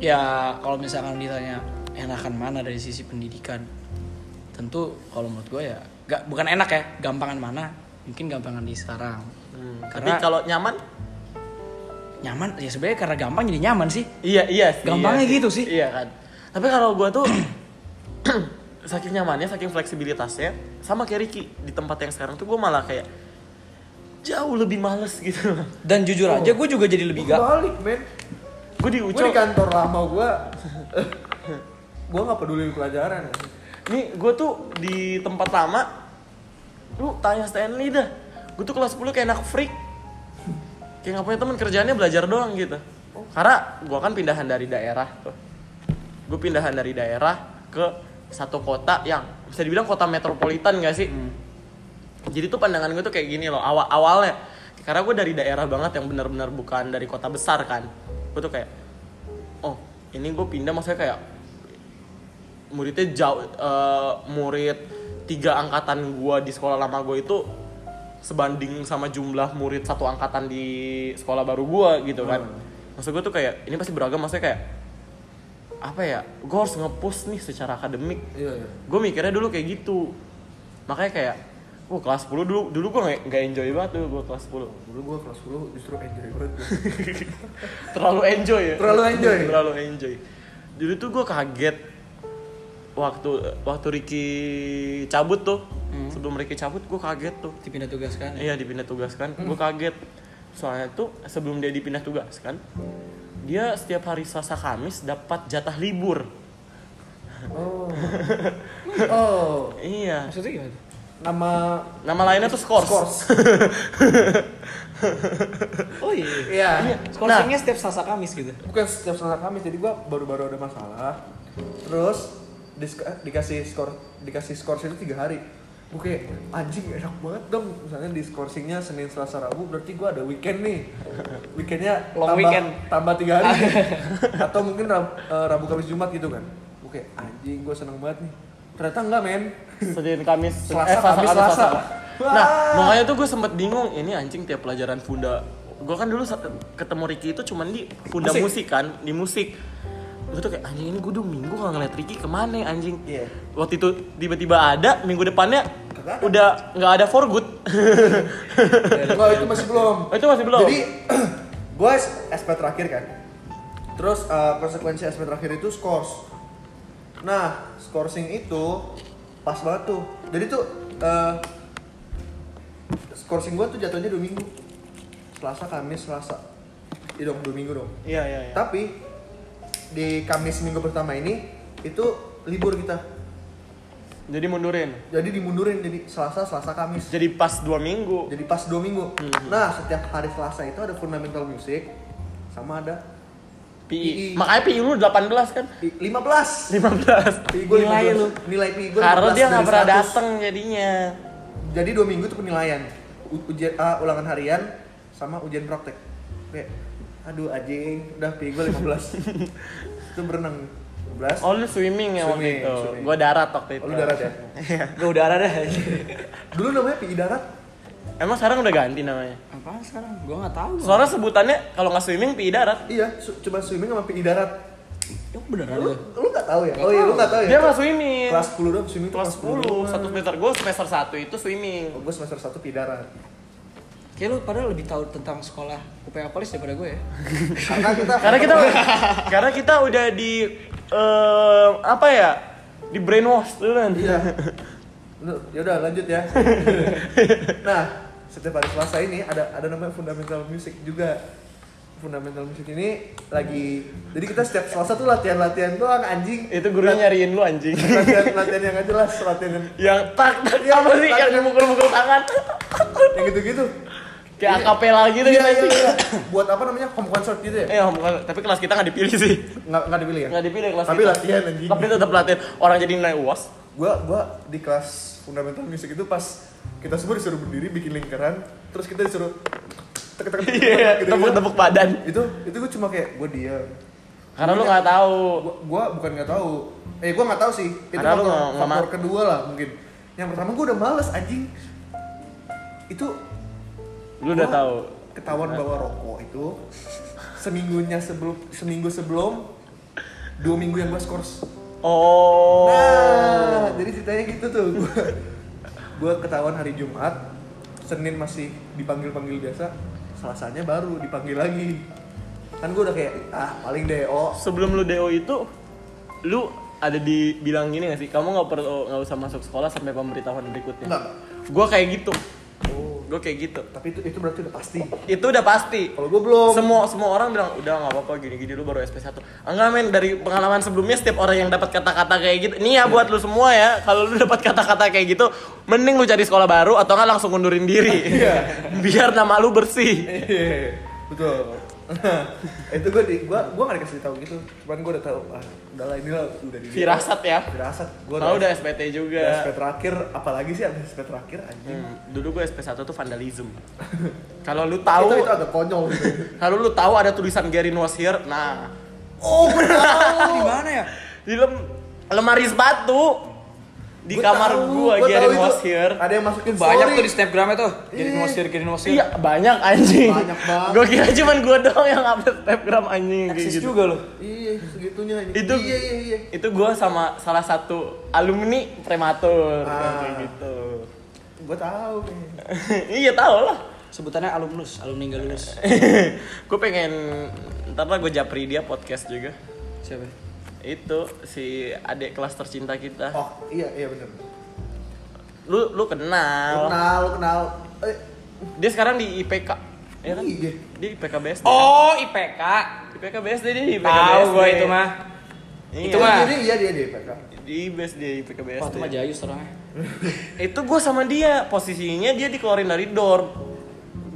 S3: ya kalau misalkan ditanya enakan mana dari sisi pendidikan, tentu kalau menurut gue ya gak, bukan enak ya, gampangan mana? Mungkin gampangan di sekarang.
S1: tapi
S5: Hmm,
S3: Karena
S1: kalau nyaman
S3: nyaman ya sebenarnya karena gampang jadi nyaman sih.
S1: Iya iya. sih,
S3: Gampangnya
S1: iya
S3: gitu sih.
S1: Iya kan. Tapi kalau gua tuh [clears throat] saking nyamannya, saking fleksibilitasnya, sama kayak Ricky di tempat yang sekarang tuh gua malah kayak jauh lebih males gitu. [laughs]
S3: Dan jujur
S5: Oh.
S3: aja gue juga jadi lebih gak.
S2: Balik men,
S1: Gue di
S2: gue di
S1: Uco,
S2: kantor lama [laughs] gue, gue nggak peduli pelajaran. ya.
S1: nih gue tuh di tempat lama, lu tanya Stanley dah, gue tuh kelas 10 kayak anak freak, kayak nggak punya teman kerjaannya belajar doang gitu. Karena gua kan pindahan dari daerah tuh, gue pindahan dari daerah ke satu kota yang bisa dibilang kota metropolitan gak sih? Jadi tuh pandangan gue tuh kayak gini loh awal awalnya karena gue dari daerah banget yang benar-benar bukan dari kota besar kan. Gue tuh kayak oh ini gue pindah maksudnya kayak muridnya jauh eh, murid tiga angkatan gue di sekolah lama gue itu sebanding sama jumlah murid satu angkatan di sekolah baru gue gitu kan. Maksud gue tuh kayak ini pasti beragam maksudnya kayak apa ya gue harus nge-push nih secara akademik
S2: Iya, iya.
S1: gue mikirnya dulu kayak gitu makanya kayak wah kelas 10 dulu dulu gue nggak nggak enjoy banget tuh gue kelas 10
S2: Dulu gue kelas 10 justru enjoy banget. gua.
S1: [laughs] terlalu enjoy ya
S2: Terlalu enjoy.
S1: terlalu enjoy dulu tuh gue kaget waktu waktu Ricky cabut tuh
S2: Hmm.
S1: sebelum Ricky cabut gue kaget tuh
S5: dipindah
S3: kan.
S5: tugaskan ya?
S1: Iya dipindah tugaskan. Gue
S2: Hmm.
S1: kaget. Soalnya tuh sebelum dia dipindah tugaskan, dia setiap hari Selasa Kamis dapat jatah libur.
S2: Oh. oh.
S1: Iya.
S5: maksudnya gimana tuh?
S2: Nama
S1: Nama lainnya tuh skors.
S2: Skors.
S5: oh iya
S3: Nah.
S2: Iya.
S5: skorsingnya setiap Selasa Kamis gitu
S2: Bukan setiap Selasa Kamis, jadi gua baru-baru ada masalah. Terus disk- dikasih skor dikasih skor itu tiga hari. Gue kayak anjing enak banget dong. Misalnya di skorsingnya Senin Selasa Rabu berarti gua ada weekend nih. Weekendnya
S3: Long
S2: tambah,
S3: weekend.
S2: tambah tiga
S3: [laughs]
S2: hari. Atau mungkin Rab- eh, Rabu Kamis Jumat gitu kan. Gue kayak anjing gua seneng banget nih. Ternyata enggak men.
S1: Senin Kamis. Sen-
S2: Selasa, Kamis, Selasa.
S1: Nah, makanya tuh gue sempet bingung. Ini anjing tiap pelajaran funda. Gue kan dulu sa- ketemu Ricky itu cuman di funda musik,
S2: Musik.
S1: kan, di musik. Gue tuh kayak anjing ini gue udah minggu gak ngeliat Ricky kemana anjing.
S2: Iya.
S1: Waktu itu tiba-tiba ada, minggu depannya
S2: Kagak ada.
S1: udah nggak ada for good.
S2: Enggak itu masih belum.
S1: Oh, itu masih belum.
S2: Jadi [clears throat] gue SP terakhir kan. Terus eh, konsekuensi SP terakhir itu scores. Nah, scoring itu pas banget tuh. Jadi tuh eh scoring gue tuh jatuhnya dua minggu. Selasa, Kamis, Selasa. [laughs] Iya dong, dua minggu dong.
S1: Iya iya iya.
S2: Tapi di Kamis minggu pertama ini itu libur kita.
S1: Jadi mundurin.
S2: Jadi dimundurin jadi Selasa, Selasa, Kamis.
S1: Jadi pas dua minggu.
S2: jadi pas dua minggu
S1: Hmm.
S2: nah setiap hari selasa itu ada fundamental music sama ada
S1: PI.
S2: PI.
S1: Makanya PI lu 18 kan?
S2: P- 15
S1: 15.
S2: PI gua
S1: Nilai
S2: 15.
S1: lu.
S2: nilai PI gue
S1: Karena dia nggak pernah dateng jadinya.
S2: jadi dua minggu itu penilaian U- ujian ah, ulangan harian sama ujian praktek kayak aduh anjing udah PI gue
S1: [laughs]
S2: 15 itu berenang 15
S1: Oh lu swimming ya waktu
S2: Swimming,
S1: itu.
S2: swimming.
S1: Gua darat waktu itu.
S2: Oh, lu darat ya?
S3: Gak udara dah.
S2: Dulu namanya PI darat.
S1: Emang sekarang udah ganti namanya.
S5: apa sekarang gue nggak tahu
S1: Soalnya sebutannya kalau nggak swimming PI darat.
S2: Iya, su- cuma swimming sama PI darat.
S3: Ya,
S5: Yo beneran
S2: Lu
S5: lu
S2: lu enggak tahu ya? Oh iya, lu enggak tahu ya.
S1: Dia nggak swimming.
S2: kelas 10 doang swimming tuh
S1: Kelas 10,
S2: doang.
S1: satu semester gue semester 1 itu swimming.
S2: Oh, gue semester 1 PI darat.
S5: kayak lu padahal lebih tahu tentang sekolah UPA Polis daripada gue ya
S2: karena kita
S1: Karena kita
S2: [laughs]
S1: karena kita udah di eh, apa ya? Di brainwash tuh kan.
S2: iya Lu- yaudah lanjut
S1: [laughs]
S2: ya nah setiap hari selasa ini ada ada namanya fundamental music juga fundamental music ini lagi jadi kita setiap selasa tuh latihan latihan doang anjing
S1: Itu gurunya nyariin lu anjing.
S2: latihan latihan yang gak jelas latihan yang,
S1: yang tak tak
S2: Iya,
S1: [laughs] apa sih
S2: tak-
S1: yang mukul-mukul tangan
S2: yang gitu gitu
S1: kayak akapela gitu
S2: iya,
S1: kan
S2: iya, iya. buat apa namanya home concert gitu ya
S1: Eh, bukan, tapi kelas kita nggak dipilih sih.
S2: nggak nggak dipilih ya
S1: Nggak dipilih kelas
S2: Tapi
S1: kita.
S2: latihan, anjing.
S1: Tapi tetap latihan. Orang jadi nilai UAS.
S2: gua gua di kelas fundamental music itu pas kita semua disuruh berdiri bikin lingkaran terus kita disuruh tek tek tek, tek,
S1: Iya,
S2: gitu-gitu.
S1: tepuk-tepuk badan.
S2: itu itu gue cuma kayak gue diam
S1: Karena lu nggak tahu.
S2: gua, gua bukan nggak tahu eh gua nggak tahu sih itu
S1: Karena lu
S2: faktor,
S1: nggak- nggak
S2: faktor
S1: ma-
S2: kedua lah mungkin yang pertama gua udah males anjing itu
S1: Lu udah
S2: gua
S1: tahu. Nah.
S2: ketahuan bawa rokok itu seminggunya sebelum seminggu sebelum dua minggu yang gua skors
S1: Oh.
S2: nah jadi ceritanya gitu tuh gua, gua ketahuan hari Jumat Senin masih dipanggil panggil biasa Selasanya baru dipanggil lagi kan gua udah kayak ah paling deh oh
S1: Sebelum lu DO itu lu ada dibilang gini gak sih? Kamu nggak perlu nggak usah masuk sekolah sampai pemberitahuan berikutnya.
S2: Nggak.
S1: Gua kayak gitu. Gua kayak gitu.
S2: tapi itu itu berarti udah pasti
S1: Itu udah pasti.
S2: Kalau gue belum.
S1: semua semua orang bilang udah nggak apa-apa gini-gini lu baru SP 1 enggak men dari pengalaman sebelumnya setiap orang yang dapat kata-kata kayak gitu ini ya buat lu semua ya kalau lu dapat kata-kata kayak gitu mending lu cari sekolah baru atau nggak langsung undurin diri [laughs] biar nama lu bersih
S2: Iya, [laughs] Betul. [laughs] itu gue di gue gue gak dikasih tahu gitu. Cuman gue udah tahu ah udahlah inilah udah di
S1: firasat ya
S2: Firasat. Gue
S1: Mau udah SPT
S2: SP
S1: juga
S2: terakhir apalagi sih ada SP terakhir anjing.
S1: Hmm, dulu gue SP 1 tuh
S2: [laughs]
S1: vandalism kalau lu
S2: Itu
S1: tahu
S2: itu agak konyol gitu.
S1: kalau lu tahu ada tulisan Garin was here nah
S2: oh benar.
S5: di mana ya
S1: di lem- lemari sepatu [laughs] di
S2: Gua
S1: kamar
S2: tahu,
S1: gua
S2: gua
S1: Garin
S2: tahu itu.
S1: was here
S2: Ada yang masukin
S5: banyak
S2: story.
S5: tuh di snapgramnya tuh jadi
S2: Iya.
S5: wasir jadi wasir
S1: Iya banyak anjing.
S2: Banyak banget.
S1: Gue kira cuman gue doang yang update Instagram anjing kayak
S3: Eksis
S1: gitu.
S3: juga loh.
S2: Iya, segitunya ini.
S1: Itu
S2: iya iya iya.
S1: Itu gue sama salah satu alumni prematur
S2: Ah.
S1: kayak gitu. [laughs]
S2: Gue tahu. men.
S1: iya tau lah. [laughs]
S5: sebutannya alumnus alumni nggak lulus
S3: Eh,
S1: gue pengen ntar lah gue japri dia podcast juga.
S5: siapa
S1: itu si adik kelas tercinta kita.
S2: oh iya iya bener
S1: Lu lu
S2: Lu
S1: kenal.
S2: kenal lu kenal eh
S1: Dia sekarang di IPK. Ya kan?
S2: Iya.
S1: Dia IPK BSD.
S3: Oh, IPK.
S1: IPK BSD dia di IPK
S3: Tahu
S1: BSD.
S3: gua itu mah.
S1: Iya.
S3: Itu mah.
S2: jadi iya dia dia PK
S1: di base dia di IPK BSD.
S5: Itu mah jayus
S3: [laughs]
S5: orangnya.
S1: itu gue sama dia posisinya dia dikeluarin dari dorm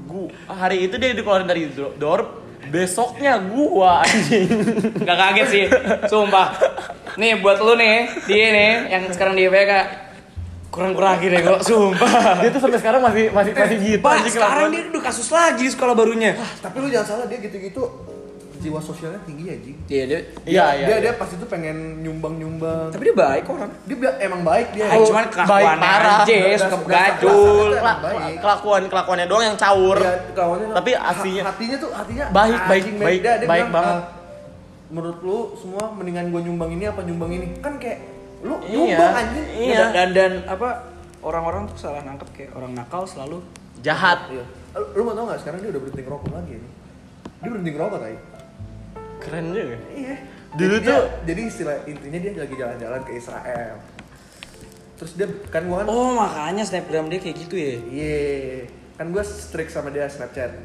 S1: gua hari itu dia dikeluarin dari dro- dorm besoknya gua anjing
S3: Gak kaget sih, sumpah. Nih buat lu nih, dia nih yang sekarang di IPK kurang-kurang akhirnya ya, kok,
S2: Iya.
S3: sumpah.
S1: dia tuh sampai sekarang masih masih masih gitu
S3: [laughs] Pak,
S1: anjing
S3: sekarang
S1: kelakuan.
S3: dia udah kasus lagi di sekolah barunya.
S2: tapi lu jangan salah dia gitu gitu jiwa sosialnya tinggi anjing
S5: Iya, dia
S1: iya iya
S2: dia
S1: iya.
S2: dia pas itu pengen nyumbang nyumbang
S3: Tapi dia baik orang.
S2: dia bi- emang baik dia
S3: Ay, cuman kelakuan
S1: parah.
S3: aja,
S2: Udah-
S3: suka
S2: udah-
S3: gajul.
S2: udah-
S1: Kela-
S2: Baik.
S1: kelakuan kelakuannya doang yang caur
S2: Iya, kawannya
S1: Tapi
S2: ha-
S1: aslinya-
S2: hatinya tuh hatinya
S1: Baik, baik,
S2: anjing, men.
S1: baik,
S2: Dia- dia
S1: baik
S2: bilang,
S1: banget.
S2: "Ah, menurut lu semua mendingan gua nyumbang ini apa nyumbang ini kan kayak lu
S1: Iya,
S2: nyumbang anjing
S1: Iya.
S3: Dan, dan dan apa orang-orang tuh salah nangkep kayak orang nakal selalu
S1: jahat
S2: Iya. Lu- lu mau tau gak sekarang dia udah berhenti ngerokok lagi ini dia berhenti ngerokok tadi
S1: keren juga
S2: iya
S1: Dulu
S2: Jadi dia-
S1: tuh-
S2: jadi istilah intinya dia lagi jalan-jalan ke Israel terus dia kan gua kan
S3: Oh makanya snapgram dia kayak gitu ya
S2: Iya, kan gue strict sama dia Snapchat.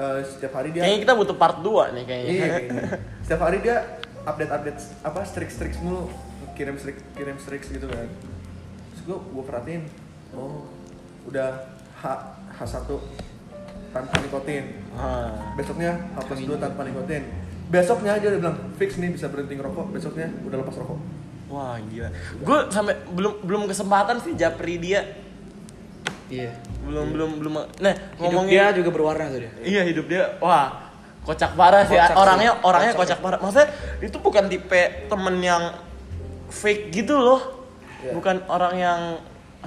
S2: Eh, setiap hari dia.
S1: kayaknya kita butuh part 2 nih kayaknya
S2: Iya, kayaknya. setiap hari dia update-update apa strict-strict mulu, kirim strict kirim strict gitu kan. Terus gue gue perhatiin, oh udah H H1 tanpa nikotin.
S1: Ah.
S2: Besoknya H plus 2 tanpa nikotin. Besoknya aja udah bilang fix nih bisa berhenti ngerokok. Besoknya udah lepas rokok.
S1: [laughs] wah gila gue sampai belum belum kesempatan sih japri dia
S3: Iya
S1: belum belum belum nah
S3: Hidup
S1: ngomongin
S3: dia juga berwarna tuh dia
S1: Iya hidup dia wah kocak parah sih
S3: Kocak sih.
S1: orangnya orangnya kocak
S3: Kocak.
S1: parah. Maksudnya itu bukan tipe temen yang fake gitu loh.
S2: Iya.
S1: Bukan orang yang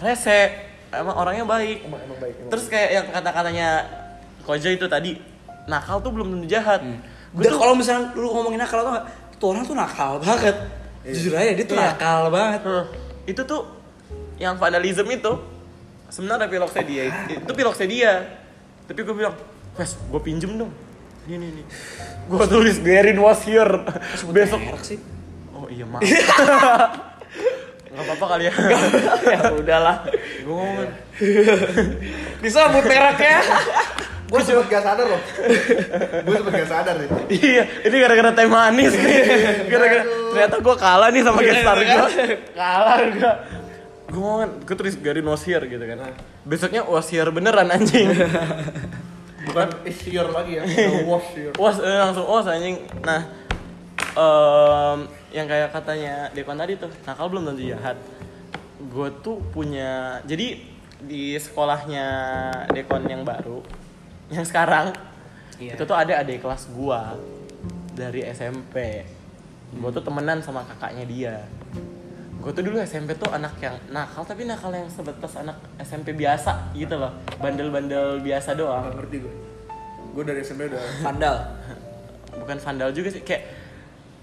S1: rese. Emang orangnya baik.
S2: Emang emang baik. Emang
S1: Terus kayak yang kata-katanya Koja itu tadi nakal tuh belum tentu jahat.
S3: Hmm.
S1: Gua
S3: Udah
S1: tuh-
S3: kalau misalnya lu ngomongin nakal atau nggak, Tuh orang tuh nakal banget Jujur aja dia tuh
S1: Iya.
S3: nakal banget
S1: Heh, itu tuh yang vandalism itu sebenarnya piloknya dia itu piloknya dia tapi gue bilang wes gue pinjem dong ini nih nih gue tulis Gerin was here besok
S3: Merek sih
S1: oh iya maaf nggak apa-apa kali ya ya udahlah gue ngomong
S3: Bisa buat mereknya
S2: Gue sempet gak sadar loh. [laughs] gue sempet gak sadar nih.
S1: iya ini gara-gara teh manis nih gara-gara ternyata gue kalah nih sama gestar gue kalah gue gue mau kan gue tulis Garin was here gitu kan besoknya was here beneran anjing
S2: bukan is your lagi ya udah wash your
S1: was eh, langsung was anjing nah em, yang kayak katanya Depan tadi tuh nakal belum tentu jahat gue tuh punya jadi di sekolahnya Dekon yang baru yang sekarang
S3: Iya.
S1: itu tuh ada adik kelas gua dari SMP gue tuh temenan sama kakaknya dia gue tuh dulu SMP tuh anak yang nakal tapi nakal yang sebatas anak SMP biasa gitu loh bandel-bandel biasa doang
S2: nggak ngerti gue gue dari SMP udah
S3: Vandal
S1: bukan vandal juga sih kayak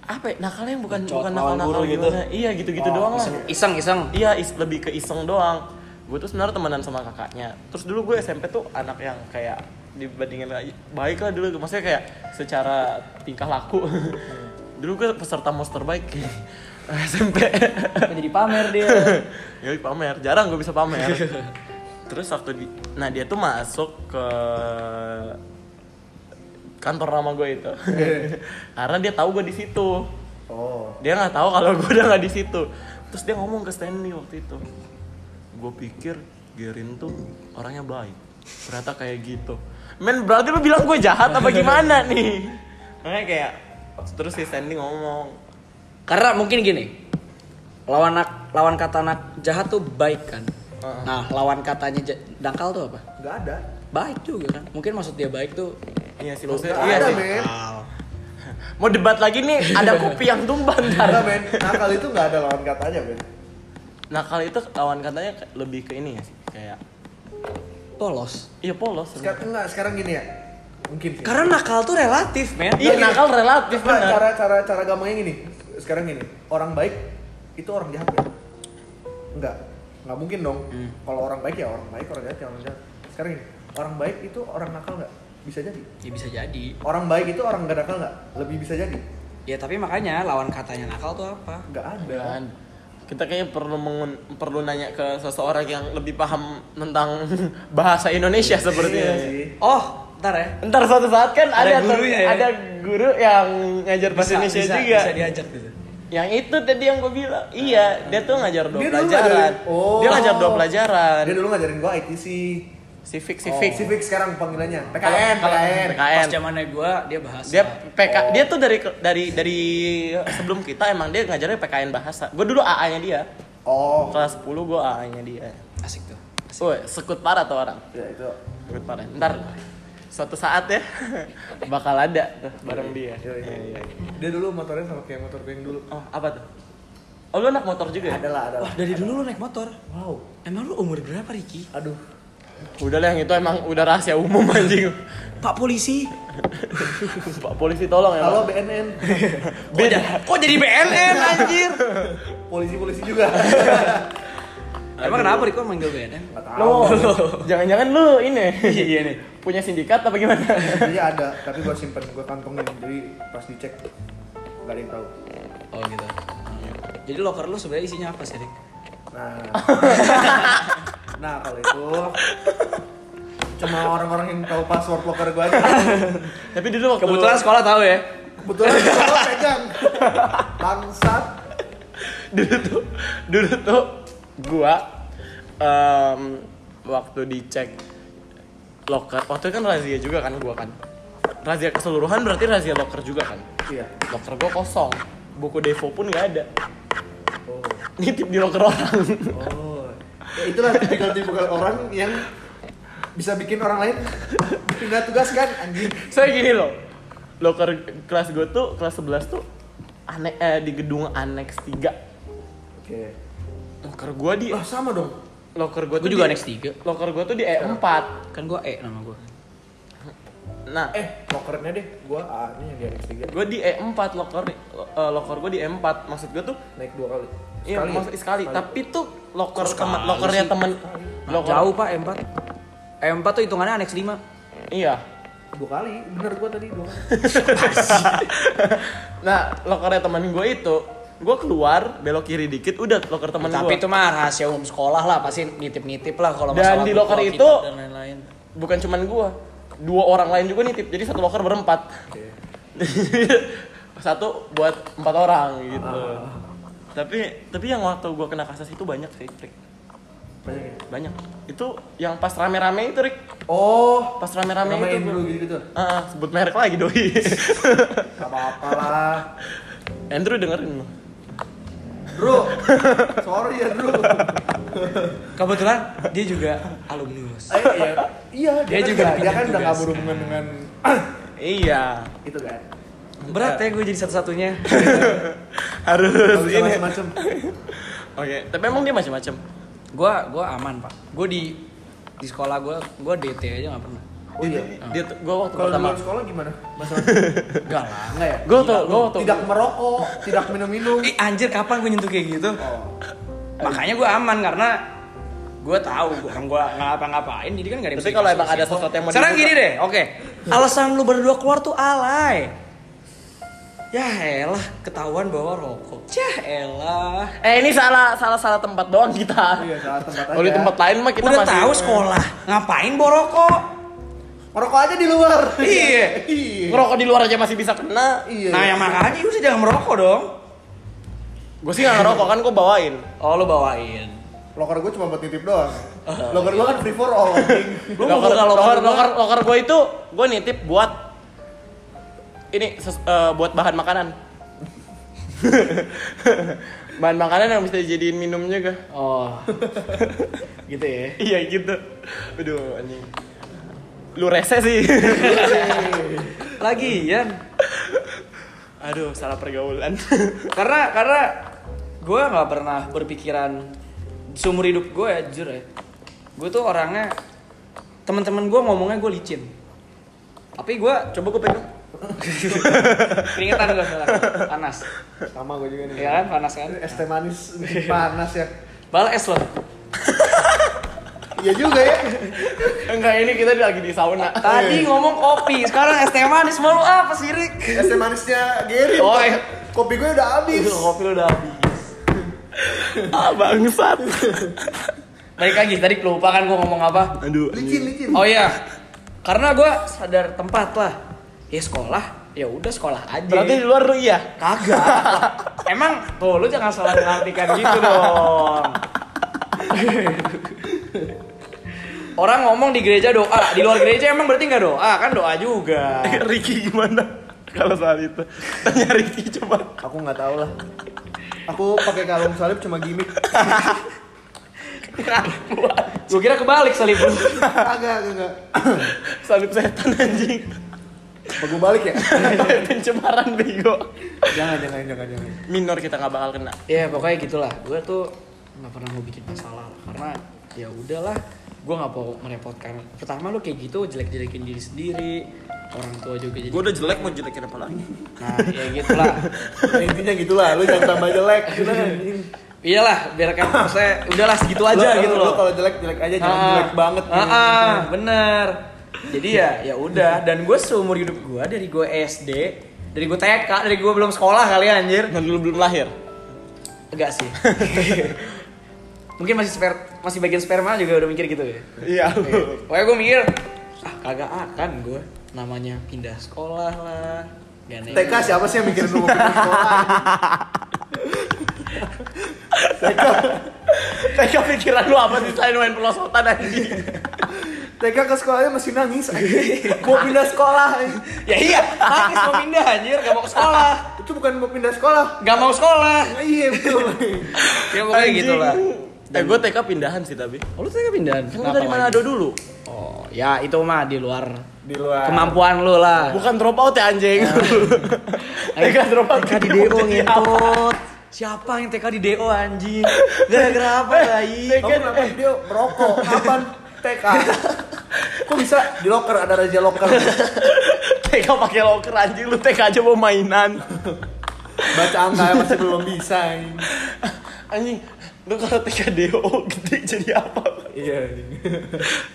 S1: apa ya, nakalnya yang bukan
S3: Bacot,
S1: bukan nakal
S3: lawan
S1: nakal
S3: guru gitu.
S1: gitu iya gitu gitu doang
S3: Oh,
S1: lah
S3: Iseng-iseng
S1: iya is- lebih ke iseng doang gue tuh sebenarnya temenan sama kakaknya terus dulu gue SMP tuh anak yang kayak dibandingin lagi- baik lah dulu maksudnya kayak secara tingkah laku [laughs] dulu gue peserta monster [laughs] baik SMP
S3: Jadi pamer dia
S1: [laughs] ya pamer jarang gue bisa pamer terus waktu di nah dia tuh masuk ke kantor nama gue itu karena dia tahu gue di situ
S2: oh
S1: dia nggak tahu kalau gue udah nggak di situ terus dia ngomong ke Stanley waktu itu gue pikir Gerin tuh orangnya baik ternyata kayak gitu men berarti lu bilang gue jahat apa gimana nih makanya kayak terus si Stanley ngomong
S3: Karena mungkin gini Lawan nak, lawan kata nak jahat tuh baik kan Nah lawan katanya ja- dangkal tuh apa?
S2: nggak ada
S3: Baik juga kan Mungkin maksud dia baik tuh
S1: iya sih maksudnya
S2: nggak
S1: iya
S2: ada
S1: sih
S2: men
S1: mau debat lagi nih ada kopi yang tumpah ntar
S2: nggak men nakal itu nggak ada lawan katanya men
S1: nakal Nah, itu lawan katanya ke- lebih ke ini ya sih kayak
S3: polos
S1: iya polos
S2: sekarang enggak sekarang gini ya mungkin sih
S3: Karena nakal tuh relatif men
S1: iya nakal relatif
S2: Nggak,
S1: benar
S2: kan cara cara cara gampangnya gini sekarang gini orang baik itu orang jahat ya nggak nggak mungkin dong kalau orang baik ya orang baik orang jahat ya orang jahat sekarang gini orang baik itu orang nakal nggak bisa jadi
S3: Ya bisa jadi
S2: orang baik itu orang gak nakal nggak lebih bisa jadi
S3: Ya tapi makanya lawan katanya nakal tuh apa?
S2: nggak ada
S1: Dan kita kayaknya perlu mengun- perlu nanya ke seseorang yang lebih paham tentang [laughs] bahasa Indonesia
S2: Iya
S1: sepertinya.
S2: sih
S3: Oh, ntar ya.
S1: Ntar suatu saat kan ada
S3: Ada
S1: ter-
S3: gurunya ya?
S1: ada guru yang ngajar bahasa Indonesia
S3: bisa,
S1: juga.
S3: bisa diajak gitu.
S1: Yang itu tadi yang gue bilang. Iya, dia tuh ngajar dua
S2: Dia dulu
S1: pelajaran.
S2: ngajarin- Oh.
S1: Dia ngajar dua pelajaran.
S2: dia dulu ngajarin gua ITC
S1: Civic,
S2: Civic
S1: civic.
S2: Oh, Civic sekarang panggilannya
S1: Kalau-
S2: PKN
S1: kalau-
S2: PKN
S1: PKN.
S5: Pas zamannya gue dia bahasa.
S1: Dia PK, dia tuh dari dari dari sebelum kita emang dia ngajarnya PKN bahasa. Gue dulu AA-nya dia.
S2: oh
S1: Kelas 10 gue AA-nya dia.
S3: Asik tuh.
S1: Woi, sekut parah tuh orang.
S2: ya itu
S1: Sekut parah. Ntar suatu saat ya [laughs] bakal ada tuh bareng dia.
S2: Iya, iya, iya. dia dulu motornya sama kayak motor gue yang dulu
S1: Oh, apa tuh? Oh, lu anak motor juga ya?
S2: adalah adalah
S3: Wah, dari dulu lu naik motor.
S2: wow
S3: Emang lu umur berapa, Riki?
S2: aduh
S1: Udah lah yang itu emang udah rahasia umum [laughs] anjing.
S3: Pak polisi.
S1: Pak polisi tolong ya.
S2: halo
S1: Pak.
S2: BNN
S1: Beda.
S3: Kok jadi BNN anjir?
S2: polisi polisi juga
S3: Emang kenapa Riko manggil BNN?
S2: [laughs] nggak tahu
S1: Lo, jangan-jangan lu ini. iya nih. Punya sindikat apa gimana?
S2: Jadi Iya, ada, tapi gua simpen, gua kantongin. Jadi pas dicek nggak ada yang tahu.
S3: Oh gitu. Jadi locker lu sebenarnya isinya apa sih, Rik?
S2: Nah, [laughs] nah kalau itu cuma orang-orang yang tahu password locker gua [laughs] aja.
S1: Tapi dulu waktu
S3: Kebetulan sekolah tahu ya.
S2: Kebetulan gua pegang. Bangsat.
S1: dulu tuh dulu tuh gua em, waktu dicek locker waktu itu kan razia juga kan gua kan razia keseluruhan berarti razia locker juga kan
S2: Iya.
S1: locker gua kosong buku devo pun nggak ada
S2: Oh.
S1: nitip di locker orang [laughs]
S2: Oh. Ya, itulah tipikal-tipikal orang yang bisa bikin orang lain pindah tugas kan anjing.
S1: saya gini loh locker kelas gua tuh kelas 11 tuh ane eh, di gedung annex 3
S2: Oke.
S1: locker gua di
S3: Iya.
S2: Lah sama dong.
S1: locker gua tuh
S5: Gue juga
S1: di-
S5: next 3.
S1: locker gua tuh di E E4
S5: Kan gue E nama gue.
S1: nah
S2: Eh, lokernya deh. Gua A ini yang di annex 3
S1: gue di E4 locker eh, locker gue di E4 maksud gue tuh
S2: naik dua kali.
S1: iya
S2: Sekali ya?
S1: maksud sekali tapi tuh locker
S5: Kok
S1: teman
S5: sekali
S1: lockernya
S5: sih?
S1: temen
S5: Nah, jauh
S3: E
S5: Pak E4. E4 tuh hitungannya aneks 5.
S1: iya [laughs]
S2: dua kali bener gua tadi dua kali
S1: nah lockernya temen gue itu gue keluar belok kiri dikit udah locker temen
S5: Tapi
S1: gue
S5: itu mah rahasia umum sekolah lah, pasti nitip-nitip lah kalau
S1: Dan
S5: masalah
S1: di
S5: buku
S1: locker
S5: Alkitab
S1: itu-
S5: dan lain-lain.
S1: bukan cuman gue dua orang lain juga nitip jadi satu locker berempat [laughs] satu buat empat orang gitu
S5: Ah.
S1: tapi tapi yang waktu gue kena kasus itu banyak sih Rick
S2: banyak ya
S1: banyak itu yang pas rame-rame itu Rick
S2: oh
S1: pas rame-rame
S2: ramein
S1: itu
S2: dulu gitu gitu
S1: Ah, sebut merek lagi doi. [laughs]
S2: gak apa apa lah
S1: Andrew dengerin lo.
S2: bro sorry ya bro
S3: Kebetulan dia juga alumnus.
S2: Eh, iya iya dia,
S3: Dia
S2: kan nggak-
S3: juga
S2: dia
S3: dipindah
S2: kan udah gak
S3: tugas.
S2: berhubungan dengan
S1: Iya.
S2: itu kan
S3: Berat ya gue jadi
S5: [laughs]
S3: satu-satunya.
S1: Harus
S2: Gak bisa
S1: ini. Oke,
S2: macem-macem
S1: tapi emang dia macam-macam.
S5: Gue gue aman pak. Gue di di sekolah gue gue DT aja nggak pernah.
S2: oh iya
S1: Dia tuh gua waktu
S2: kalau di
S1: pertama.
S2: luar sekolah gimana Mas
S5: Enggak lah.
S2: enggak ya
S1: Gua tuh gua waktu
S2: tidak merokok tidak minum minum
S3: Ih Eh, anjir kapan gue nyentuh kayak gitu?
S2: oh
S3: Makanya gue aman karena gue tahu bukan gue ngapa-ngapain jadi kan gak ada yang
S1: Tapi
S3: bisa
S1: kalau
S3: dikasih
S1: emang ada
S3: sih.
S1: sesuatu yang mau
S3: Sekarang
S1: dibuka-
S3: gini deh, oke. Alasan lu berdua keluar tuh alay. Ya elah, ketahuan bawa rokok. Yah elah.
S1: Eh, ini salah salah salah tempat doang kita.
S2: iya salah tempat aja
S1: Kalau di tempat lain mah kita
S3: Udah
S1: masih
S3: tahu sekolah, ngapain bawa rokok?
S2: merokok aja di luar
S3: Iya.
S2: iya
S1: ngerokok di luar aja masih bisa kena.
S2: iya
S3: Nah, yang makanya udah jangan merokok dong.
S1: Gue sih nggak ngerokok kan gue bawain.
S3: Oh, lu bawain.
S2: loker gue cuma buat nitip doang loker gue kan free for all anjing.
S3: Lu mau buka loker
S1: loker,
S3: gua?
S1: loker, gue itu gue nitip buat ini ses- eh, buat bahan
S2: [laughs]
S1: makanan. bahan makanan yang bisa dijadiin minum juga.
S5: Oh. gitu ya.
S1: Iya [laughs] gitu. Aduh anjing. Lu rese sih.
S3: Lagian.
S1: [laughs] Aduh, salah pergaulan.
S3: karena karena gue nggak pernah berpikiran seumur hidup gue ya jujur ya gue tuh orangnya teman-teman gue ngomongnya gue licin tapi gue
S1: Coba gue [laughs] pegang.
S3: keringetan gue panas
S2: sama gue juga nih
S3: ya kan panas kan
S1: Iya.
S2: es teh manis panas ya
S3: bal es loh
S2: Iya juga ya.
S1: [laughs] Enggak ini kita lagi di sauna.
S6: Tadi ngomong kopi, sekarang es teh manis mau lu apa sih, Rik?
S2: Es teh manisnya Gary.
S1: Oh, iya.
S2: Kopi gue udah habis.
S1: kopi lu udah habis. ah bangsat.
S3: Balik lagi tadi lupa kan gue ngomong apa?
S1: Aduh.
S2: Licin, licin.
S3: Oh iya. Karena gue sadar tempat lah. Ya sekolah, ya udah sekolah aja.
S1: Berarti di luar lu iya.
S3: kagak. [laughs] Emang tuh lu jangan salah mengartikan gitu dong. Orang ngomong di gereja doa, di luar gereja emang berarti nggak doa kan doa juga.
S1: [laughs] Ricky gimana? Kalau soal itu tanya Ricky coba.
S2: Aku nggak tahu lah. Aku pakai kalung salib cuma gimmick.
S3: Gue kira kebalik salib lu.
S2: Agak, agak.
S1: Salib setan anjing.
S2: Apa gue balik ya?
S1: Pencemaran bego.
S2: jangan, jangan, jangan, jangan.
S1: Minor kita nggak bakal kena.
S3: Ya pokoknya gitulah. Gue tuh nggak pernah mau bikin masalah lah. karena ya udahlah. Gue nggak mau merepotkan. Pertama lu kayak gitu jelek-jelekin diri sendiri. Orang tua juga jadi.
S1: Gue udah jelek mau jelekin apa lagi?
S3: Nah ya gitulah.
S2: Ya, intinya gitulah, lu jangan tambah jelek. Gitu.
S3: Iyalah biarkan saya udahlah segitu aja
S2: Lu-
S3: gitu
S2: lu- Lu
S3: loh.
S2: kalau jelek jelek aja, jangan
S3: Ah.
S2: jelek banget. gitu.
S3: Ah, ah, bener. Jadi ya ya udah. Dan gue seumur hidup gue dari gue SD, dari gue TK, dari gue belum sekolah kali ya, anjir.
S1: Dan Kan lu belum lahir.
S3: Enggak
S2: [laughs]
S3: sih. Mungkin masih sper masih bagian sperma juga udah mikir gitu ya.
S1: Iya.
S3: Pokoknya gue mikir ah kagak akan gue namanya pindah sekolah lah. Gak naik.
S2: TK siapa sih yang mikirin lu mau [laughs] pindah sekolah?
S1: Tega pikiran lu apa sih selain main pelosotan anjing?
S2: TK ke sekolahnya masih nangis. mau pindah sekolah.
S3: Ya iya, nangis mau pindah anjir, gak mau ke sekolah.
S2: Itu bukan mau pindah sekolah.
S3: Gak mau sekolah.
S2: Ah, Iya betul.
S3: Ya pokoknya gitu lah.
S1: Eh gue TK pindahan sih tapi.
S3: Oh, lu tega pindahan?
S1: Kan gue
S3: Kenapa
S1: dari
S3: lagi?
S1: Manado dulu.
S3: Oh, ya itu mah di luar
S2: Di luar.
S3: kemampuan lu lah.
S1: Bukan drop out ya anjing. [laughs] TK drop out.
S6: TK di DO
S1: [laughs]
S6: ngintut. Siapa yang TK di DO anjing? Gara-gara apa,
S1: Eh,
S6: Rai?
S2: Kamu kenapa
S3: eh.
S2: dia merokok? Kapan TK? Kok bisa di locker ada raja locker?
S1: TK pakai loker anjing lu TK aja mau mainan.
S2: Baca angka masih belum bisa. Ya, ini.
S1: [laughs] Anjing, lu kalau TK DO [laughs] gede jadi apa?
S2: Iya. ini.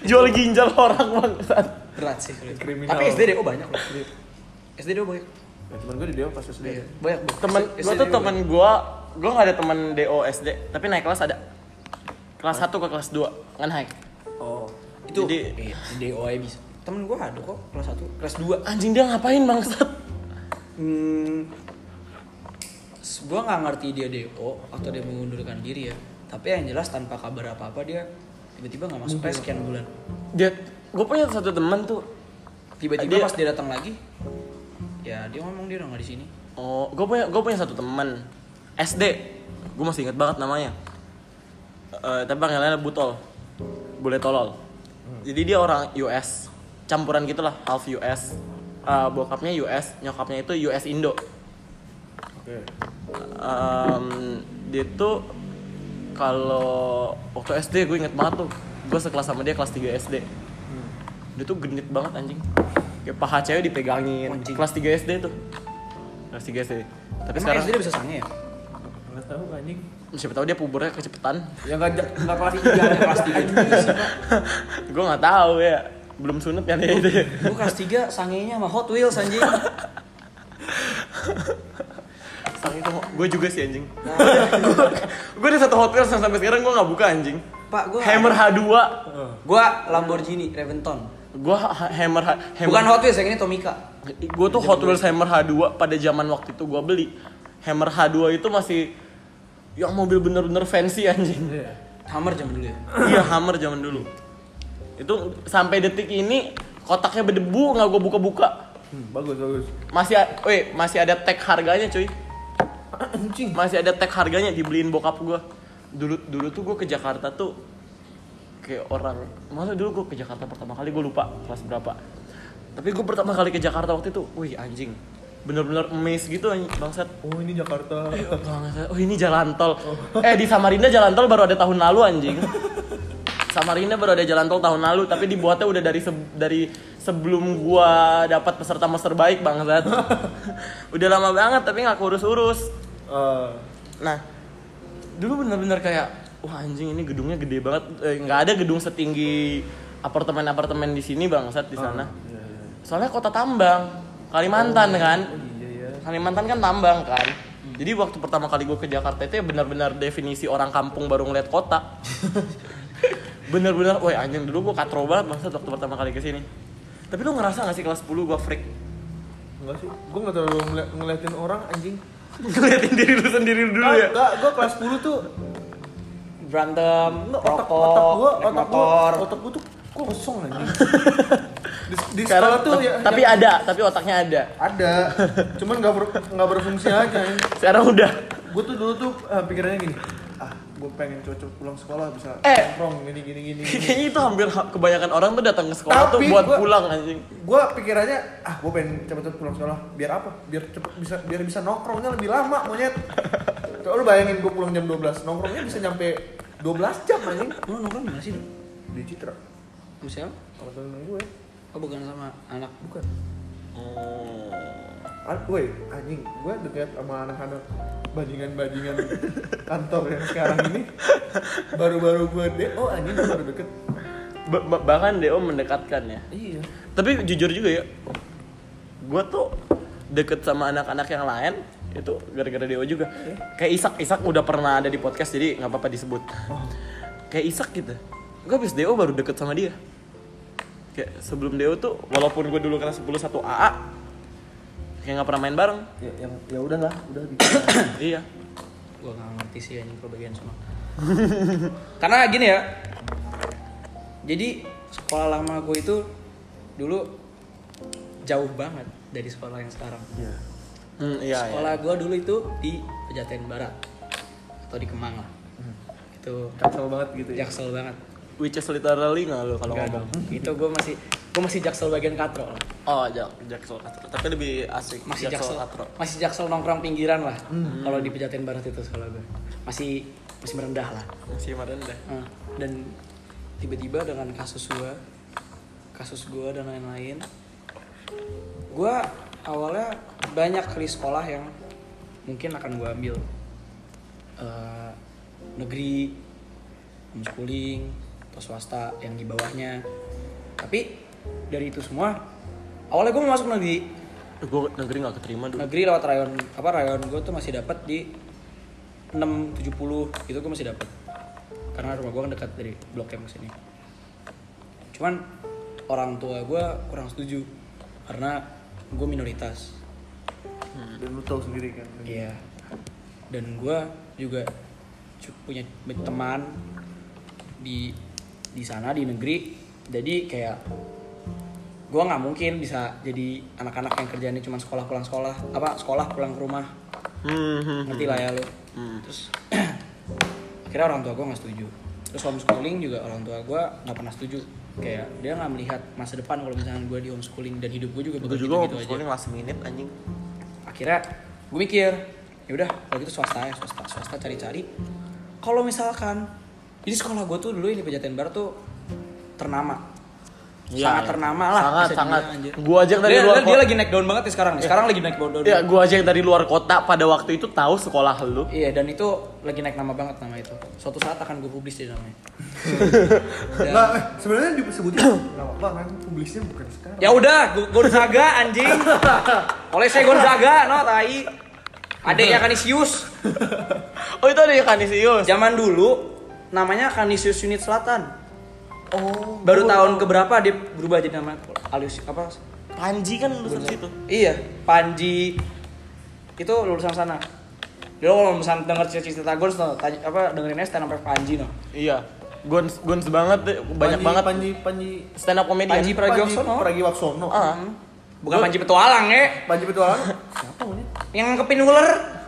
S1: Jual ginjal orang bangsat.
S3: Berat sih. berat.
S2: Kriminal.
S3: Tapi SD DO banyak loh. SD DO banyak. Iya,
S2: Nah, Temen gue di dia pas SD.
S3: Banyak. Bang.
S1: Temen,
S3: SD
S1: gua tuh
S3: DO
S1: temen gua, gua gak ada temen DO SD, tapi naik kelas ada. Kelas 1 ke kelas 2, kan naik.
S2: Oh.
S3: banyak. itu
S1: Jadi-
S3: eh, DO aja bisa. Temen gua ada kok kelas 1, kelas 2.
S1: Anjing dia ngapain bangsat?
S3: Hmm, s- gua nggak ngerti dia DO atau dia mengundurkan diri ya. Tapi yang jelas tanpa kabar apa-apa dia tiba-tiba nggak masuk kelas sekian bulan.
S1: Dia, gua punya satu teman tuh.
S3: Tiba-tiba
S1: Dia-
S3: pas dia datang lagi, ya dia ngomong dia udah nggak di sini.
S1: Oh, gua punya gua punya satu teman SD. Gua masih inget banget namanya. Eh, tapi panggilannya Butol. Boleh tolol. Jadi dia orang US, campuran gitulah, half US. Eh, bokapnya US, nyokapnya itu US Indo.
S2: Oke.
S1: Em, dia tuh kalau waktu SD gue inget banget tuh gue sekelas sama dia kelas 3 SD dia tuh genit banget anjing kayak paha cewek dipegangin
S3: Anjing.
S1: kelas 3 SD tuh kelas 3 SD tapi
S3: Emang
S1: sekarang
S3: SD dia bisa sange ya?
S2: Enggak tahu anjing.
S1: siapa tahu dia pubernya [laughs] kecepetan
S2: Ya enggak enggak kelas 3 kelas 3.
S1: gue nggak tahu ya belum sunat kan dia itu
S3: Gue kelas 3 sangenya sama Hot Wheels anjing.
S1: Sang itu gue juga sih [laughs] anjing gue ada satu hotel yang sampai sekarang gue nggak buka anjing
S3: Pak, gue
S1: Hammer H2
S3: Gue Lamborghini Reventon.
S1: gue Hammer H- Hammer
S3: Bukan Hot Wheels yang ini Tomica.
S1: gue tuh Hot Wheels Hammer H2 pada zaman waktu itu gue beli Hammer H2 itu masih yang mobil bener-bener fancy anjing
S3: Hammer zaman dulu ya.
S1: iya Hammer zaman dulu itu sampai detik ini kotaknya berdebu nggak gue buka-buka
S2: Hmm, bagus bagus.
S1: masih a- weh, masih ada tag harganya cuy
S2: Anjing.
S1: masih ada tag harganya dibeliin bokap gue dulu dulu tuh gue ke Jakarta tuh kayak orang masa dulu gue ke Jakarta pertama kali gue lupa kelas berapa tapi gue pertama kali ke Jakarta waktu itu wih anjing bener-bener amazed gitu anjing bangsat
S2: Oh, ini Jakarta.
S1: Bangsat. Oh ini jalan tol. Eh di Samarinda jalan tol baru ada tahun lalu anjing. Samarinda baru ada jalan tol tahun lalu tapi dibuatnya udah dari se- dari sebelum gua dapat peserta master baik bangsat. [laughs] udah lama banget tapi nggak kurus urus.
S2: Eh,
S1: Nah dulu bener-bener kayak wah anjing ini gedungnya gede banget Eh, nggak ada gedung setinggi apartemen-apartemen di sini bangsat di sana
S2: iya.
S1: soalnya kota tambang Kalimantan
S2: Oh,
S1: kan
S2: iya,
S1: Kalimantan kan tambang kan jadi waktu pertama kali gue ke Jakarta itu ya benar-benar definisi orang kampung baru ngeliat kota
S2: [laughs]
S1: bener-bener woi anjing dulu gue katro banget bangsat waktu pertama kali ke sini tapi lu ngerasa gak sih kelas 10 gue freak [laughs]
S2: Enggak sih, gue gak terlalu ngeliat- ngeliatin orang anjing
S1: ngeliatin diri lu sendiri dulu ya
S2: Kan, Enggak, gue kelas 10 tuh
S7: berantem
S2: Enggak, otak, otak
S7: rokok
S2: gue,
S7: naik
S2: otak gue,
S7: motor
S2: otak gue tuh kosong anjing Di, di sekolah
S1: sekarang
S2: tuh
S1: tep-
S2: ya,
S1: tapi
S2: ya-
S1: ada tapi otaknya ada
S2: ada Cuman gak, ber, gak berfungsi aja anjing
S1: sekarang udah [laughs]
S2: Gue tuh dulu tuh eh, pikirannya gini Ah, gue pengen cocok pulang sekolah bisa
S1: Eh.
S2: nongkrong gini gini gini, gini.
S1: [laughs] kayaknya itu hampir ha- kebanyakan orang tuh datang ke sekolah tuh
S2: Tapi
S1: buat
S2: gua-
S1: pulang anjing
S2: gue pikirannya ah gue pengen cepet-cepet pulang sekolah biar apa biar cepet bisa biar bisa nongkrongnya lebih lama monyet Coba lu bayangin gue pulang jam 12 nongkrongnya bisa nyampe 12 jam anjing
S3: Lu nongkrong di mana sih?
S2: di Citra
S3: Misalnya,
S2: sama ya. temen gue
S3: oh bukan sama anak
S2: bukan
S1: Hmm.
S2: An woi anjing gue deket sama anak-anak bajingan-bajingan kantor yang sekarang ini baru-baru gue deh oh anjing gua baru deket
S1: Ba- ba- bahkan DO mendekatkan ya
S2: iya
S1: tapi jujur juga ya gue tuh deket sama anak-anak yang lain itu gara-gara Deo juga kayak Isak Isak udah pernah ada di podcast jadi nggak apa-apa disebut kayak Isak gitu gue habis Deo baru deket sama dia kayak sebelum Deo tuh walaupun gue dulu kelas 10 satu AA kayak nggak pernah main bareng [clears throat]
S2: ya yang ya udahlah udah bicara
S1: iya
S3: gua nggak ngerti sih anjing perbedaan sama [laughs] karena gini ya jadi sekolah lama gue itu dulu jauh banget dari sekolah yang sekarang
S2: iya
S1: Hmm, iya, iya.
S3: sekolah gua dulu itu di Pejaten Barat atau di Kemang lah itu
S2: kacau banget gitu ya
S3: jaksel banget
S1: Which is literally nggak lo kalau
S3: Nggak
S1: ngomong?
S3: dong. [laughs] itu gue masih gue masih jaksel bagian katro lah.
S1: Oh, Jak Jaksel Katro. Tapi lebih asik
S3: masih
S1: Jaksel
S3: jaksel,
S1: Katro.
S3: masih jaksel nongkrong pinggiran lah kalau di Pejaten Barat itu sekolah gue masih masih merendah lah
S1: Masih merendah.
S3: Nah, dan tiba-tiba dengan kasus gua kasus gua dan lain-lain gua awalnya banyak kali sekolah yang mungkin akan gua ambil Eh, negeri homeschooling atau swasta yang di bawahnya tapi dari itu semua awalnya gua mau masuk negeri
S1: Gue negeri nggak keterima dulu.
S3: negeri lewat rayon apa rayon gue tuh masih dapat di 670 itu gue gitu masih dapat karena rumah gue kan dekat dari blok M ke sini cuman orang tua gue kurang setuju karena gue minoritas
S2: dan lu tahu sendiri kan
S3: Iya. Dan gue juga cu- punya teman di di sana di negeri. Jadi kayak gue nggak mungkin bisa jadi anak-anak yang kerjaannya cuma sekolah pulang sekolah apa sekolah pulang ke rumah
S1: Hmm, hmm.
S3: ngerti lah ya lo terus [clears throat] akhirnya orang tua gue nggak setuju terus homeschooling juga orang tua gue nggak pernah setuju kayak dia nggak melihat masa depan kalau misalnya gue di homeschooling dan hidup gue juga
S1: Gue
S3: bakal
S1: juga
S3: gitu-gitu
S1: waktu sekolah last minute anjing.
S3: akhirnya gue mikir ya udah kalau gitu swasta ya swasta swasta cari-cari kalau misalkan jadi sekolah gue tuh dulu ini Pejaten Barat tuh ternama
S1: Iya,
S3: sangat
S1: iya.
S3: ternama lah
S1: Sangat,
S3: bisa dibilang,
S1: sangat.
S3: anjir.
S1: Gua aja yang dari
S3: dia,
S1: luar
S3: dia, dia
S1: kota.
S3: lagi naik daun banget nih sekarang nih sekarang lagi naik daun daun
S1: Ya, gue aja yang dari luar kota pada waktu itu tahu sekolah lu.
S3: iya dan itu lagi naik nama banget nama itu suatu saat akan gue publis di namanya Dan-
S2: nggak eh, sebenarnya disebutin [clears throat] nggak apa-apa kan publisnya bukan sekarang
S3: Ya udah, Gu- Gonzaga anjing. Oleh saya Gonzaga, no tai. Adeknya Kanisius.
S1: Oh, itu ada yang Kanisius.
S3: Zaman dulu namanya Kanisius Unit Selatan.
S1: Oh,
S3: Baru tahun keberapa dia berubah jadi nama alus apa?
S1: Panji kan lulusan situ.
S3: Iya, Panji itu lulusan sana. Dulu kalau misalnya denger cerita-cerita Gons no, tanya, apa dengerinnya stand up Panji no.
S1: Iya. Gons gons banget deh. banyak
S2: Panji-
S1: banget
S2: panji panji
S1: stand up comedian.
S3: Panji Pragiwaksono.
S2: Pragiwaksono
S1: Ah.
S3: Bukan Panji petualang ya,
S2: panji petualang siapa namanya
S3: yang ngekepin ular.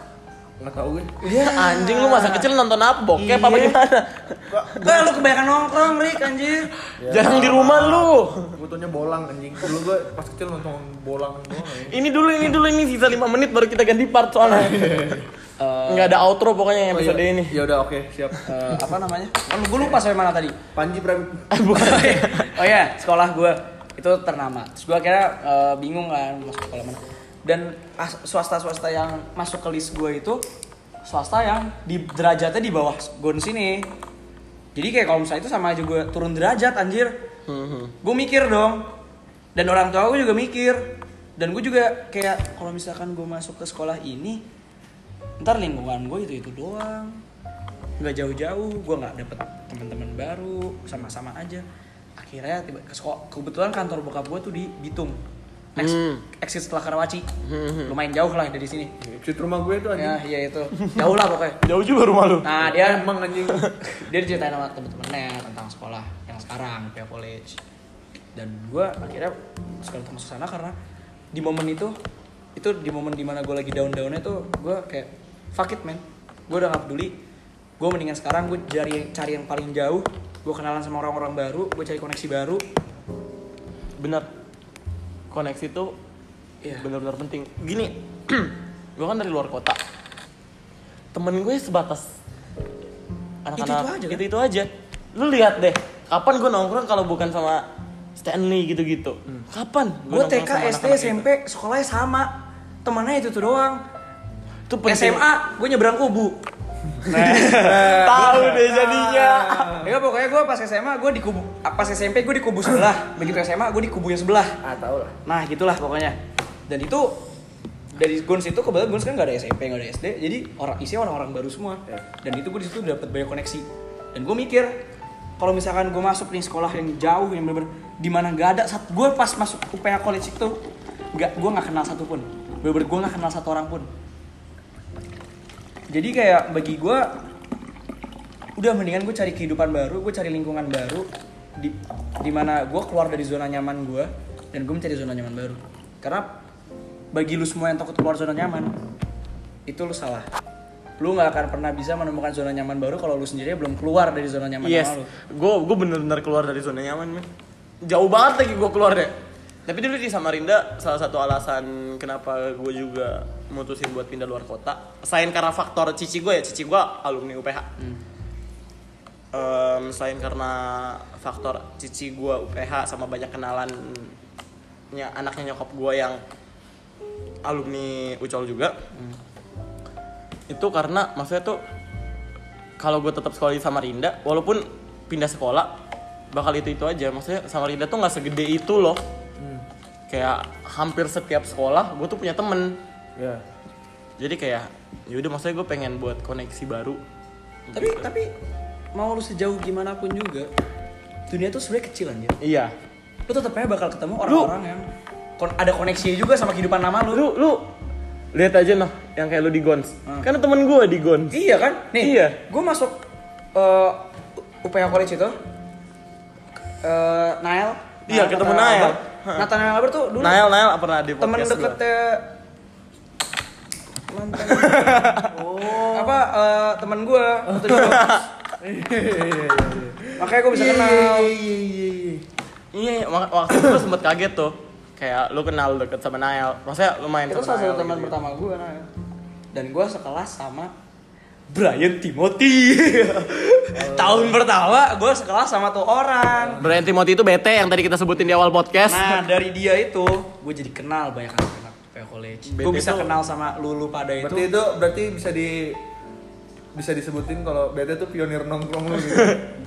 S2: nggak tahu gue
S1: Iya, anjing lu masa kecil nonton apa? Bokep apa
S3: Iya.
S1: gimana?
S3: Wah, Eh, lu kebanyakan nongkrong, Rik, anjir.
S1: Jarang di rumah lu.
S2: gue taunya bolang anjing dulu gue pas kecil nonton bolang doang anjing.
S1: Ini dulu, ini dulu, ini sisa 5 menit baru kita ganti part
S3: [laughs]
S1: soalnya. Nggak ada outro pokoknya yang episode
S2: Oh, iya.
S1: ini.
S2: ya udah oke siap
S3: Eh, apa namanya? Kan gue lupa sampai mana tadi. [laughs]
S2: panji Pragi
S3: oh ya sekolah gue itu ternama terus gue akhirnya eh, bingung kan masuk sekolah mana dan swasta swasta yang masuk ke list gue itu swasta yang di derajatnya di bawah gon sini. Jadi kayak kalau misalnya itu sama aja gue turun derajat anjir. Gue mikir dong. Dan orang tua gue juga mikir. Dan gue juga kayak kalau misalkan gue masuk ke sekolah ini, ntar lingkungan gue itu itu doang. Nggak jauh-jauh, gue nggak dapet teman-teman baru, sama-sama aja. Akhirnya tiba ke sekolah, kebetulan kantor bokap gue tuh di Bitung. Ex-
S2: Hmm.
S3: Exit setelah Karawaci, lumayan jauh lah dari sini.
S2: Cut rumah gue tuh Hmm, anjing.
S3: Ya, iya itu. Jauh lah pokoknya.
S1: Jauh juga rumah lu.
S2: Ah,
S3: Nah, dia
S2: Emang anjing.
S3: dia diceritain sama temen-temennya tentang sekolah yang sekarang, Pia College. Dan gua akhirnya sekali masuk sana karena di momen itu itu di momen dimana gue lagi down-downnya tuh gue kayak fuck it man gue udah gak peduli gue mendingan sekarang gue cari cari yang paling jauh gue kenalan sama orang-orang baru gue cari koneksi baru
S1: Bener. Koneksi tuh
S3: Iya.
S1: bener-bener penting. Gini, [clears throat] gue kan dari luar kota. Temen gue sebatas anak-anak
S3: Itu-itu aja kan?
S1: itu aja. Lu lihat deh, kapan gue nongkrong kalau bukan sama Stanley gitu-gitu. Kapan?
S3: gue
S1: nongkrong
S3: TK
S1: sama
S3: SD
S1: anak-anak gitu?
S3: SMP sekolahnya sama temannya itu tuh doang
S1: itu. Itu penting.
S3: SMA gue nyebrang kubu
S1: Tahu deh jadinya.
S3: [laughs] Ya pokoknya gue pas SMA gue di kubu pas SMP gue di kubu sebelah, begitu SMA gue di kubu yang sebelah.
S2: Ah, tau lah.
S3: Nah gitulah pokoknya. Dan itu dari Guns itu kebetulan Guns kan gak ada SMP gak ada SD, jadi orang isinya orang-orang baru semua.
S2: Ya.
S3: Dan itu gue di situ dapat banyak koneksi. Dan gue mikir kalau misalkan gue masuk nih sekolah yang jauh yang bener-bener di mana gak ada saat gue pas masuk UPH College itu gak gue nggak kenal satupun, bener-bener gue nggak kenal satu orang pun. Jadi kayak bagi gue udah mendingan gue cari kehidupan baru gue cari lingkungan baru di di mana gue keluar dari zona nyaman gue dan gue mencari zona nyaman baru karena bagi lu semua yang takut keluar zona nyaman itu lu salah lu nggak akan pernah bisa menemukan zona nyaman baru kalau lu sendiri belum keluar dari zona nyaman
S1: Yes,
S3: awal lu
S1: gue gue bener-bener keluar dari zona nyaman men. Jauh banget lagi gue keluar deh. Tapi dulu di Samarinda salah satu alasan kenapa gue juga mutusin buat pindah luar kota, selain karena faktor cici gue ya, cici gue alumni UPH. Em, selain karena faktor cici gue UPH sama banyak kenalannya anaknya nyokap gue yang alumni Ucol juga. Itu karena maksudnya tuh kalau gue tetap sekolah di Samarinda, walaupun pindah sekolah bakal itu itu aja. Maksudnya Samarinda tuh nggak segede itu loh. Hmm. Kayak hampir setiap sekolah gue tuh punya temen.
S2: Ya.
S1: Jadi kayak yaudah maksudnya gue pengen buat koneksi baru.
S3: tapi tapi mau lu sejauh gimana pun juga dunia tuh sebenarnya kecil anjir
S1: Iya.
S3: lu tetep aja bakal ketemu orang-orang yang kon- ada koneksi juga sama kehidupan lama lu
S1: Lu lu lihat aja noh yang kayak lu di Gons. Karena temen gue di Gons.
S3: Iya kan? Nih,
S1: Iya.
S3: gue masuk eh, UPH College itu. eh Nael.
S1: Iya, ketemu Nael. Hah.
S3: Nathan Nael Albert tuh dulu
S1: Nael Nael apa pernah di
S3: temen ya.
S1: podcast gua?
S3: deketnya
S1: [laughs]
S3: mantan oh. apa eh, temen gue
S1: Oh.
S3: makanya gue bisa kenal
S2: Iya iya iya.
S1: Iya, mak- waktu itu gue sempet kaget tuh. Kayak lu kenal deket sama Nael. Maksudnya lumayan
S3: itu
S1: sama
S3: salah satu
S1: Nael
S3: teman
S1: gitu.
S3: pertama gue Nael dan gue sekelas sama Brian Timothy [laughs] tahun pertama gue sekelas sama tuh orang
S1: Brian Timothy itu BT yang tadi kita sebutin di awal podcast.
S3: Nah dari dia itu gue jadi kenal banyak anak-anak PO College.
S1: BT
S3: Gue bisa
S1: itu-
S3: kenal sama Lulu pada itu.
S2: Berarti itu berarti bisa di bisa disebutin kalau BT tuh pionir nongkrong lu gitu.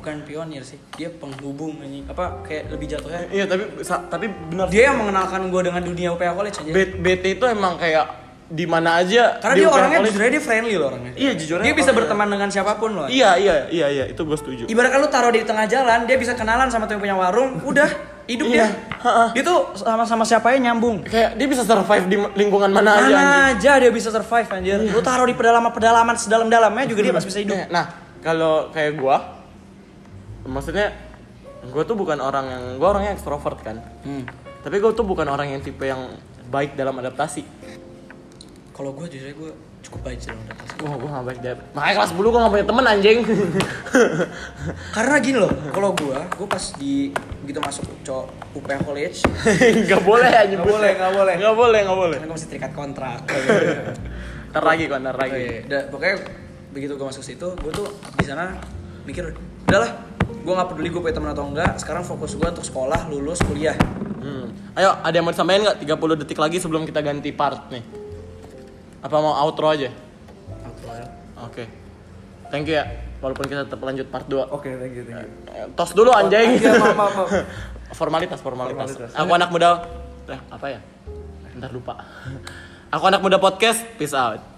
S3: Bukan pionir sih, dia penghubung anjing. Apa kayak lebih jatuhnya?
S1: Iya tapi sa- tapi benar
S3: Dia yang mengenalkan gue dengan dunia PO College aja.
S1: B- BT itu emang kayak di mana aja.
S3: Karena
S1: di
S3: dia
S1: UPH
S3: orangnya
S1: College-
S3: jujur aja dia friendly loh orangnya.
S1: Iya, jujur aja
S3: Dia bisa
S1: orangnya.
S3: berteman dengan siapapun loh.
S1: Iya iya iya iya itu gue setuju.
S3: Ibaratkan lu taruh di tengah jalan, dia bisa kenalan sama tuh yang punya warung, udah hidup dia.
S1: Iya, ha-ha.
S3: Dia tuh sama-sama siapanya nyambung.
S1: Kayak dia bisa survive di lingkungan mana, aja. Nah, iya, anjing. Iya.
S3: Mana aja dia bisa survive anjir. Lu taruh di pedalaman-pedalaman sedalam-dalamnya juga dia masih iya, bisa hidup.
S1: Nah, Nah, kalau kayak gua maksudnya gua tuh bukan orang yang gua orangnya ekstrovert kan. Tapi gua tuh bukan orang yang tipe yang baik dalam adaptasi.
S3: Kalau gue jujur gue cukup baik sih dalam adaptasi.
S1: Wah, gua gak baik dalam. Makanya kelas 10 gua gak punya temen anjing. [laughs]
S3: Karena gini loh, kalau gua, gua pas di begitu masuk co UPH College,
S1: gak boleh anjing.
S2: Nggak boleh, nggak boleh.
S1: Gak boleh, gak boleh.
S3: karena gua masih terikat kontrak.
S1: Ntar lagi kok, ntar lagi.
S3: Dan pokoknya begitu gua masuk situ, gua tuh di sana mikir, udahlah, gua nggak peduli gua punya teman atau enggak. Sekarang fokus gua untuk sekolah, lulus, kuliah.
S1: Hmm. Ayo, ada yang mau disampaikan nggak? 30 detik lagi sebelum kita ganti part nih. Apa mau outro aja?
S3: Outro.
S1: Oke. Thank you ya. Walaupun kita tetap lanjut part 2.
S2: [laughs] Oke, thank you, thank you.
S1: Tos dulu anjing.
S2: Iya, maaf, maaf, maaf.
S1: [laughs] formalitas, formalitas.
S2: Formalitas.
S1: Aku [laughs] anak muda. Eh, apa ya? Ntar lupa. Aku anak muda podcast. Peace out.